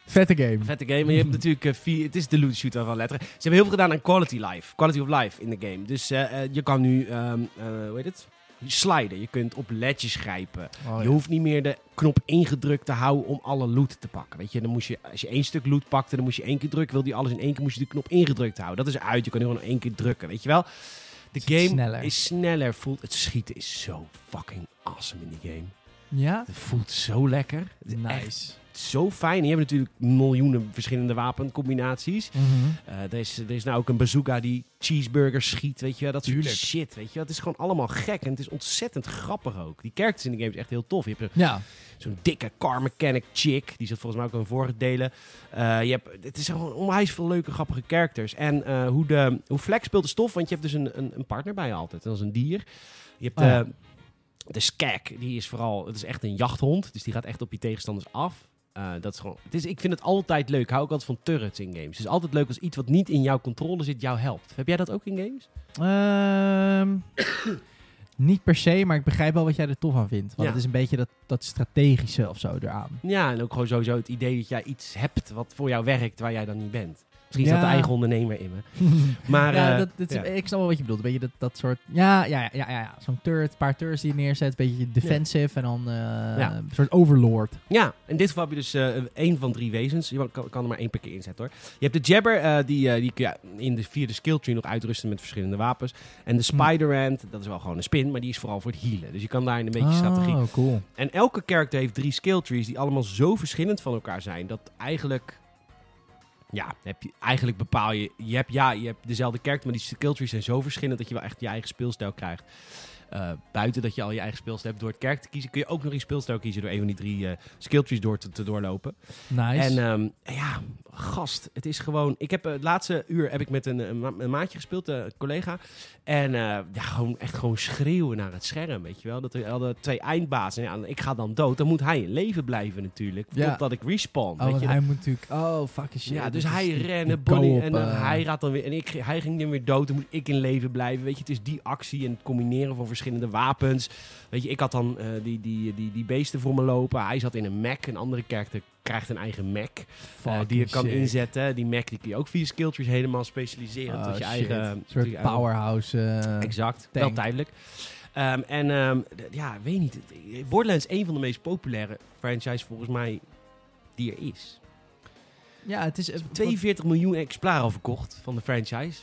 Vette game. vette game. Maar je hebt natuurlijk eh, vier... Het is de loot shooter van letteren. Ze hebben heel veel gedaan aan quality life. Quality of life in de game. Dus eh, eh, je kan nu... ehm, eh, hoe heet het? Sliden. Je kunt op ledjes grijpen. Oh, Je hoeft niet meer de knop ingedrukt te houden om alle loot te pakken. Weet je, dan moest je, als je één stuk loot pakte, dan moest je één keer drukken. Wil die alles in één keer, moest je de knop ingedrukt houden. Dat is uit, je kan nu gewoon één keer drukken, weet je wel. De Het is game sneller. is sneller, voelt... Het schieten is zo fucking awesome in die game. Ja? Het voelt zo lekker. Het is echt Nice. zo fijn. En je hebt natuurlijk miljoenen verschillende wapencombinaties. Mhm. Eh, er, is, er is nou ook een bazooka die cheeseburgers schiet, weet je wel. Dat soort Tuurlijk. shit, weet je wel. Het is gewoon allemaal gek en het is ontzettend grappig ook. Die characters in de game is echt heel tof. Je hebt een Ja. Zo'n dikke car mechanic chick. Die zat volgens mij ook in vorige delen. Eh, je hebt, het is gewoon onwijs veel leuke, grappige characters. En eh, hoe, de, hoe Flex speelt de stof. Want je hebt dus een, een, een partner bij je altijd. En dat is een dier. Je hebt Oh ja. eh, de skak. Die is vooral... Het is echt een jachthond. Dus die gaat echt op je tegenstanders af. Eh, dat is gewoon, het is, ik vind het altijd leuk. Ik hou ook altijd van turrets in games. Het is altijd leuk als iets wat niet in jouw controle zit jou helpt. Heb jij dat ook in games? Ehm, niet per se, maar ik begrijp wel wat jij er tof aan vindt. Want Ja. het is een beetje dat, dat strategische of zo eraan. Ja, en ook gewoon sowieso het idee dat jij iets hebt wat voor jou werkt waar jij dan niet bent. Misschien Ja. is dat de eigen ondernemer in me. Maar, ja, eh, dat, dat is- ja. ik snap wel wat je bedoelt. Een beetje dat, dat soort... Ja, ja, ja, ja, ja, ja. zo'n turret, paar turrets die je neerzet. Een beetje defensive en dan eh, Ja. een soort overlord. Ja, in dit geval heb je dus eh, één van drie wezens. Je kan, kan er maar één per keer inzetten hoor. Je hebt de Jabber, eh, die, eh, die kun je in de vierde skill tree nog uitrusten met verschillende wapens. En de Hm. Spider Ant, dat is wel gewoon een spin, maar die is vooral voor het healen. Dus je kan daarin een beetje strategie. Oh, cool. En elke character heeft drie skill trees die allemaal zo verschillend van elkaar zijn. Dat eigenlijk Ja, heb je, eigenlijk bepaal je. Je hebt, ja, je hebt dezelfde kerk, maar die skill trees zijn zo verschillend dat je wel echt je eigen speelstijl krijgt. Eh, buiten dat je al je eigen speelstijl hebt door het kerk te kiezen, kun je ook nog je speelstijl kiezen door een van die drie eh skill trees door te, te doorlopen. Nice. En ehm, ja, gast, het is gewoon. Ik heb eh, het laatste uur heb ik met een, een, ma- een maatje gespeeld, eh, een collega. En eh, ja, gewoon echt gewoon schreeuwen naar het scherm, weet je wel. Dat we hadden twee eindbazen. Ja, ik ga dan dood. Dan moet hij in leven blijven natuurlijk, Ja. totdat ik respawn. oh, weet want je. hij moet natuurlijk... Oh, fucking shit. Ja, dit dus is hij die- rennen, die Bonnie, co-op, en dan eh, hij gaat dan weer... En ik, hij ging dan weer dood, dan moet ik in leven blijven. Weet je, het is die actie en het combineren van verschillende wapens. Weet je, ik had dan eh, die, die, die, die beesten voor me lopen. Hij zat in een Mac, een andere karakter krijgt een eigen Mac. eh, die je fucking kan shit. inzetten. Die Mac die kun je ook via skill trees helemaal specialiseren. Oh, tot je shit. eigen... Een tot soort je eigen- powerhouse. eh, Exact, tank. wel tijdelijk. Ehm, en ehm, d- ja, weet niet. het- Borderlands is een van de meest populaire franchises volgens mij die er is. ja, het is... eh, 42 miljoen exemplaren al verkocht van de franchise.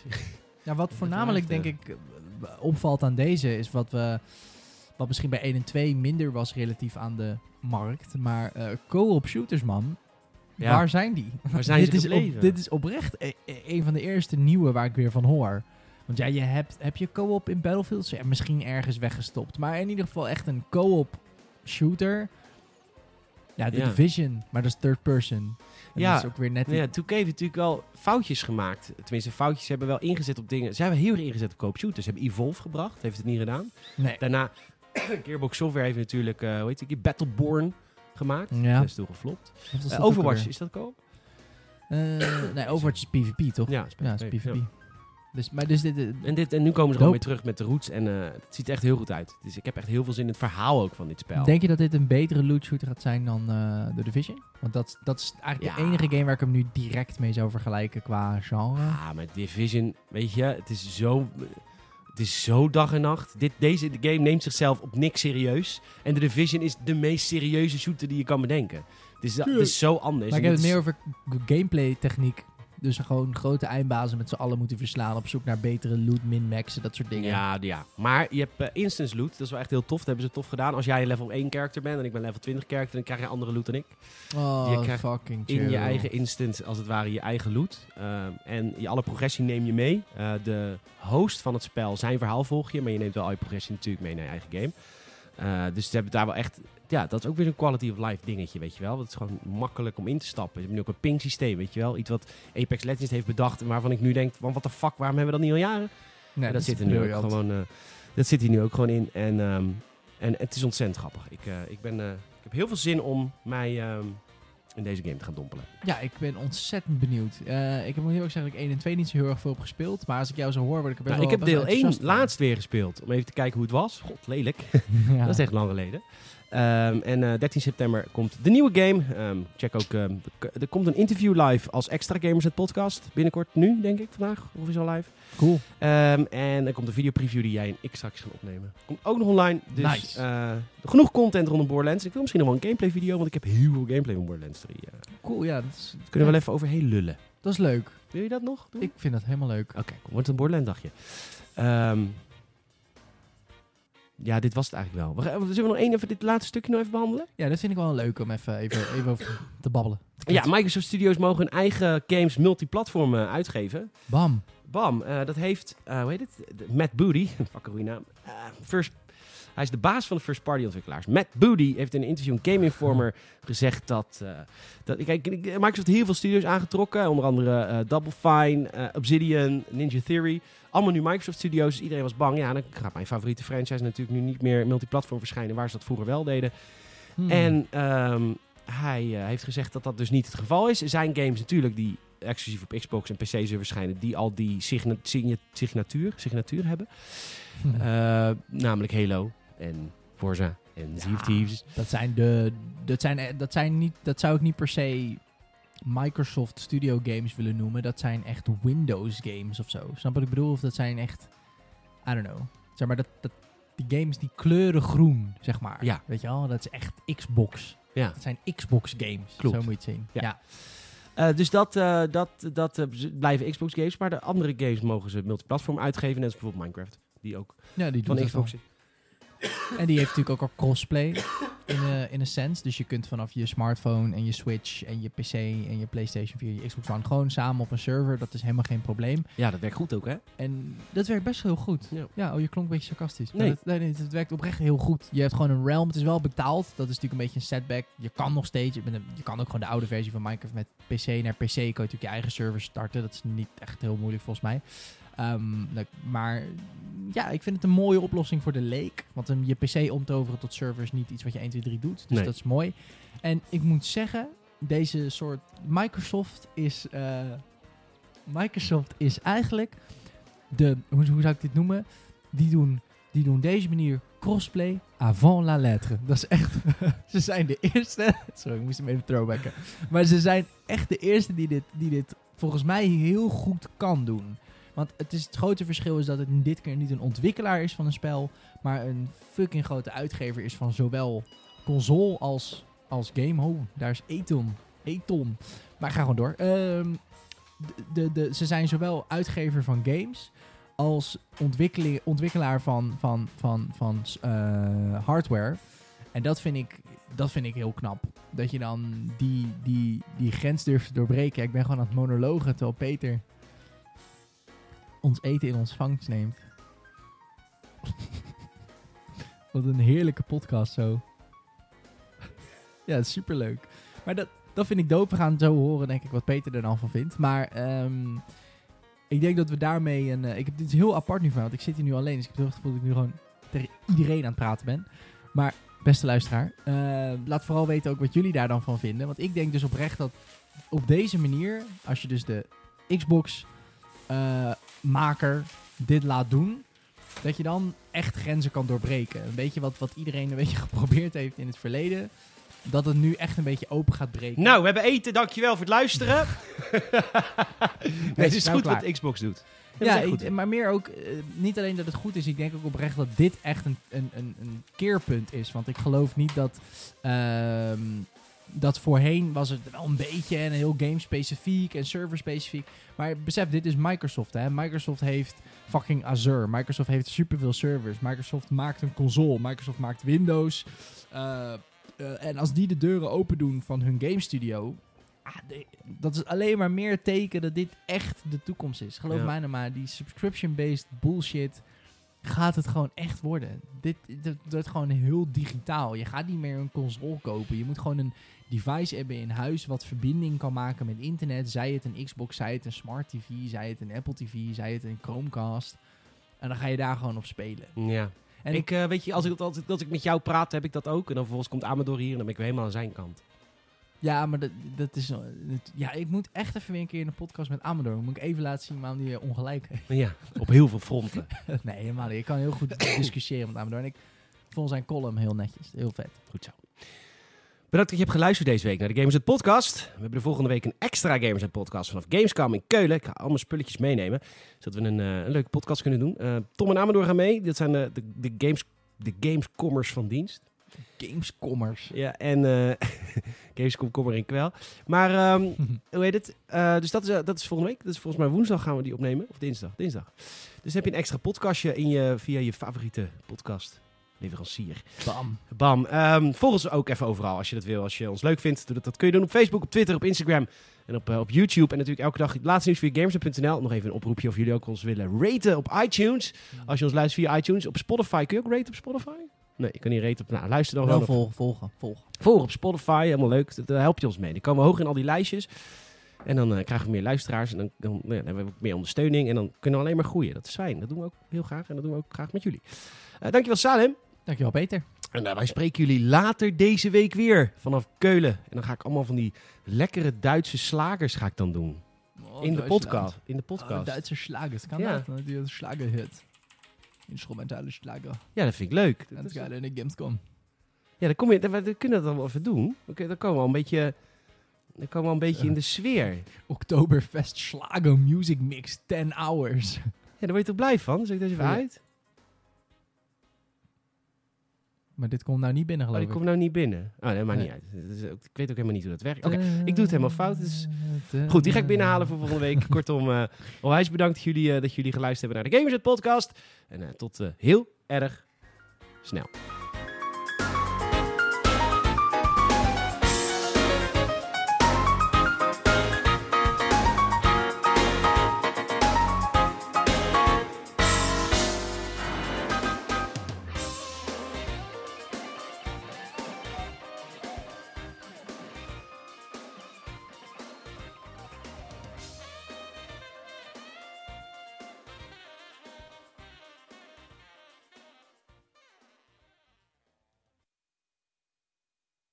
Ja, wat voornamelijk denk ik eh, opvalt aan deze is wat we. Wat misschien bij 1 en 2 minder was relatief aan de markt. Maar eh, co-op shooters, man. Ja. Waar zijn die? Waar zijn dit, ze is gebleven? dit is oprecht e- e- een van de eerste nieuwe waar ik weer van hoor. Want ja, je hebt, heb je co-op in Battlefield? Ja, misschien ergens weggestopt. Maar in ieder geval echt een co-op shooter. Ja, de Ja. Division. Maar dat is third person. En Ja. dat is ook weer net... Nou ja, die- 2K heeft natuurlijk wel foutjes gemaakt. Tenminste, foutjes ze hebben wel ingezet op dingen. Ze hebben heel erg ingezet op koopshooters. Ze hebben Evolve gebracht, heeft het niet gedaan. Nee. Daarna, Gearbox Software heeft natuurlijk, eh hoe heet het, die Battleborn gemaakt. Ja. Dat is toen geflopt. Wat was Eh, dat ook Overwatch, alweer? is dat koop? Eh, nee, Overwatch is PvP, toch? Ja, is Ja, het is PvP. Dus, maar dus dit... eh, En, dit, en nu komen ze gewoon weer Dope. terug met de roots. En eh, het ziet er echt heel goed uit. Dus ik heb echt heel veel zin in het verhaal ook van dit spel. Denk je dat dit een betere loot shooter gaat zijn dan eh The Division? Want dat, dat is eigenlijk de Ja. enige game waar ik hem nu direct mee zou vergelijken qua genre. Ah, maar Division, weet je, het is zo, het is zo dag en nacht. Dit, deze game neemt zichzelf op niks serieus. En de Division is de meest serieuze shooter die je kan bedenken. Het is, het is zo anders. Maar ik En heb het dit meer is- over g- gameplay techniek. Dus gewoon grote eindbazen met z'n allen moeten verslaan op zoek naar betere loot, min-maxen, dat soort dingen. Ja, ja, maar je hebt eh, instance loot. Dat is wel echt heel tof. Dat hebben ze tof gedaan. Als jij een level 1 character bent en ik ben level 20 character, dan krijg je andere loot dan ik. Oh, Je krijgt fucking in je chill. eigen instance, als het ware, je eigen loot. Ehm, en je, alle progressie neem je mee. Eh, de host van het spel, zijn verhaal volg je, maar je neemt wel al je progressie natuurlijk mee naar je eigen game. Eh, dus ze hebben daar wel echt... Ja, dat is ook weer een quality of life dingetje, weet je wel. Want het is gewoon makkelijk om in te stappen. Ze hebben nu ook een ping systeem, weet je wel. Iets wat Apex Legends heeft bedacht en waarvan ik nu denk... Want wat de fuck, waarom hebben we dat niet al jaren? Nee, Maar dat, is zit er nu ook briljant. gewoon, eh, dat zit hier nu ook gewoon in. En, ehm, en het is ontzettend grappig. Ik, eh, ik, ben, eh, ik heb heel veel zin om mij ehm, in deze game te gaan dompelen. Ja, ik ben ontzettend benieuwd. Eh, ik heb moet heel erg zeggen dat ik 1 en 2 niet zo heel erg veel op gespeeld. Maar als ik jou zo hoor, word ik er best Nou, ik wel heb deel 1 één laatst weer gespeeld. Om even te kijken hoe het was. God, lelijk. ja. Dat is echt lang geleden. Ehm, en eh, 13 september komt de nieuwe game. Ehm, check ook. ehm, k- er komt een interview live als extra gamers het podcast. Binnenkort nu, denk ik, vandaag. Of is al live. cool. Ehm, en er komt een videopreview die jij en ik straks gaan opnemen. Komt ook nog online. Dus Nice. eh, genoeg content rondom Borderlands. Ik wil misschien nog wel een gameplay video, want ik heb heel veel gameplay van Borderlands 3. eh. Cool, ja. Dat is, kunnen we wel even overheen lullen. dat is leuk. Wil je dat nog doen? Ik vind dat helemaal leuk. Oké, kom, wordt een Borderland dagje. Ehm, ja, dit was het eigenlijk wel. We gaan- Zullen we nog één even dit laatste stukje nog even behandelen? Ja, dat vind ik wel leuk om even, even, even over te babbelen. Ja, Microsoft Studios mogen hun eigen games multiplatform eh, uitgeven. Bam. Bam, eh, dat heeft, eh, hoe heet het? De- Matt Booty, fuck een goede naam. Eh, first, hij is de baas van de first party ontwikkelaars. Matt Booty heeft in een interview in Game Informer gezegd dat, eh, dat kijk, ik- Microsoft heeft heel veel studios aangetrokken. Onder andere eh, Double Fine, eh, Obsidian, Ninja Theory. Allemaal nu Microsoft studios. Dus iedereen was bang. Ja, dan gaat mijn favoriete franchise natuurlijk nu niet meer multiplatform verschijnen waar ze dat vroeger wel deden. Hmm. En ehm, hij eh, heeft gezegd dat dat dus niet het geval is. Er zijn games natuurlijk die exclusief op Xbox en PC zullen verschijnen, die al die signa- signa- signatuur, signatuur hebben. Hmm. Eh, namelijk Halo en Forza en Sea of Ja. Thieves. dat zijn de... Dat, zijn, eh, dat, zijn niet, dat zou ik niet per se Microsoft Studio Games willen noemen. Dat zijn echt Windows games of zo. Snap je wat ik bedoel? Of dat zijn echt... I don't know. Zeg maar, dat, dat, die games die kleuren groen, zeg maar. Ja. Weet je wel? Dat is echt Xbox. Ja. Dat zijn Xbox games. Klopt. Zo moet je het zien. Ja. Ja. Eh, dus dat, eh, dat, dat eh, z- blijven Xbox games, maar de andere games mogen ze multiplatform uitgeven, net als bijvoorbeeld Minecraft, die ook Ja, die doet van dat Xbox wel. is. En die heeft natuurlijk ook al crossplay. in, eh, in een sense. Dus je kunt vanaf je smartphone en je Switch en je PC en je PlayStation 4, je Xbox One gewoon samen op een server. Dat is helemaal geen probleem. Ja, dat werkt goed ook, hè? En dat werkt best heel goed. Ja. Ja, oh, je klonk een beetje sarcastisch. Nee. Maar dat, nee, nee, het werkt oprecht heel goed. Je hebt gewoon een realm. Het is wel betaald. Dat is natuurlijk een beetje een setback. Je kan nog steeds. Je, bent een- je kan ook gewoon de oude versie van Minecraft met PC naar PC. Kan je natuurlijk je eigen server starten. Dat is niet echt heel moeilijk volgens mij. Ehm, dat- maar ja, ik vind het een mooie oplossing voor de leek. Want um, je PC omtoveren tot server is niet iets wat je 1, 2, 3 doet. Dus Nee. dat is mooi. En ik moet zeggen, deze soort. Microsoft is. eh, Microsoft is eigenlijk de, hoe, hoe zou ik dit noemen? Die doen, die doen deze manier crossplay avant la lettre. Dat is echt, ze zijn de eerste. Sorry, ik moest hem even throwbacken. Maar ze zijn echt de eerste die dit, die dit volgens mij heel goed kan doen. Want het, is, het grote verschil is dat het dit keer niet een ontwikkelaar is van een spel, maar een fucking grote uitgever is van zowel console als, als game. Oh, daar is Eton. Eton. Maar ik ga gewoon door. Ehm, de, de, de, ze zijn zowel uitgever van games als ontwikkeli- ontwikkelaar van, van, van, van eh, hardware. En dat vind, ik, dat vind ik heel knap. Dat je dan die, die, die grens durft te doorbreken. Ik ben gewoon aan het monologen terwijl Peter ons eten in ontvangst neemt. Wat een heerlijke podcast zo. ja, het is superleuk. Maar dat, dat vind ik dope. We gaan zo horen, denk ik, wat Peter er dan van vindt. Maar ehm, ik denk dat we daarmee een. eh, ik heb dit is heel apart nu van, want ik zit hier nu alleen. Dus ik heb het gevoel dat ik nu gewoon tegen iedereen aan het praten ben. Maar beste luisteraar, eh, laat vooral weten ook wat jullie daar dan van vinden. Want ik denk dus oprecht dat op deze manier, als je dus de Xbox-maker dit laat doen, dat je dan echt grenzen kan doorbreken. Een beetje wat, wat iedereen een beetje geprobeerd heeft in het verleden. Dat het nu echt een beetje open gaat breken. Nou, we hebben eten. Dankjewel voor het luisteren. nee, het is nou goed klaar. wat Xbox doet. Ja, dat is echt ik- maar meer ook, eh, niet alleen dat het goed is, ik denk ook oprecht dat dit echt een, een, een, een keerpunt is. Want ik geloof niet dat, ehm, dat voorheen was het wel een beetje en heel game-specifiek en server-specifiek. Maar besef, dit is Microsoft. Hè? Microsoft heeft fucking Azure. Microsoft heeft superveel servers. Microsoft maakt een console. Microsoft maakt Windows. Eh, eh, en als die de deuren open doen van hun game studio. ah, de- dat is alleen maar meer teken dat dit echt de toekomst is. Geloof Ja. mij nou maar, die subscription-based bullshit gaat het gewoon echt worden. Dit, dit wordt gewoon heel digitaal. Je gaat niet meer een console kopen. Je moet gewoon een device hebben in huis wat verbinding kan maken met internet. Zij het een Xbox, zij het een Smart TV, zij het een Apple TV, zij het een Chromecast. En dan ga je daar gewoon op spelen. Ja. En ik, eh, weet je, als ik, als, ik, als ik met jou praat, heb ik dat ook. En dan vervolgens komt Amador hier en dan ben ik weer helemaal aan zijn kant. Ja, maar dat, dat is... wel- het- ja, ik moet echt even weer een keer in een podcast met Amador. Moet ik even laten zien waarom die eh, ongelijk heeft. Ja, op heel veel fronten. nee, helemaal niet. Ik kan heel goed discussiëren met Amador. En ik vond zijn column heel netjes. Heel vet. Goed zo. Bedankt dat je hebt geluisterd deze week naar de Gamers Net Podcast. We hebben de volgende week een extra Gamers Net Podcast vanaf Gamescom in Keulen. Ik ga al mijn spulletjes meenemen, zodat we een, eh, een leuke podcast kunnen doen. Eh, Tom en Amador gaan mee. Dit zijn de, de, de, games, de Gamescommers van dienst. Gamescommers. Ja, en eh Gamescom kom in kwel. Maar ehm, hoe heet het? Eh, dus dat is, eh, dat is volgende week. Dat is volgens mij woensdag gaan we die opnemen. Of dinsdag. Dinsdag. Dus heb je een extra podcastje in je, via je favoriete podcast. Leverancier. Bam. Bam. Ehm volg ons ook even overal als je dat wil. Als je ons leuk vindt. Doe dat, dat kun je doen op Facebook, op Twitter, op Instagram en op, eh, op YouTube. En natuurlijk elke dag het laatste nieuws via gamers.nl. Nog even een oproepje of jullie ook ons willen raten op iTunes. Als je ons luistert via iTunes. Op Spotify. Kun je ook raten op Spotify? Nee, je kan niet raten op... Nou, luister dan Wel gewoon op volgen, volgen, volgen. voor op Spotify. Helemaal leuk. Daar help je ons mee. Dan komen we hoog in al die lijstjes. En dan eh, krijgen we meer luisteraars. En dan, dan, nou ja, dan hebben we ook meer ondersteuning. En dan kunnen we alleen maar groeien. Dat is fijn. Dat doen we ook heel graag. En dat doen we ook graag met jullie. Eh, dankjewel Salem. Dankjewel, Peter. En eh, wij spreken jullie later deze week weer vanaf Keulen. En dan ga ik allemaal van die lekkere Duitse slagers ga ik dan doen. in, de podcast, in de podcast. Oh, Duitse slagers, kann Ja. das? Ne? Die Schlagerhit. Instrumentale Schlager. Ja, dat vind ik leuk. Dat Ganz is- geil in der Gamescom. Ja, dan kom je, dan, we kunnen dat dan wel even doen. Oké, dan komen we al een beetje, dan komen we al een beetje in de sfeer. Oktoberfest Schlager Music Mix 10 Hours. Ja, daar word je toch blij van? Zeg ik dat even Ja. uit? Maar dit komt nou niet binnen, Oh, geloof die ik. komt nou niet binnen. Oh, nee, maakt Nee. niet uit. Dat is ook- ik weet ook helemaal niet hoe dat Eh, werkt. Oké, ik doe het helemaal fout, dus- Goed, die ga ik binnenhalen voor volgende week. Kortom, eh onwijs bedankt dat jullie, eh, dat jullie geluisterd hebben naar de Gamers Net Podcast. En eh, tot eh, heel erg snel.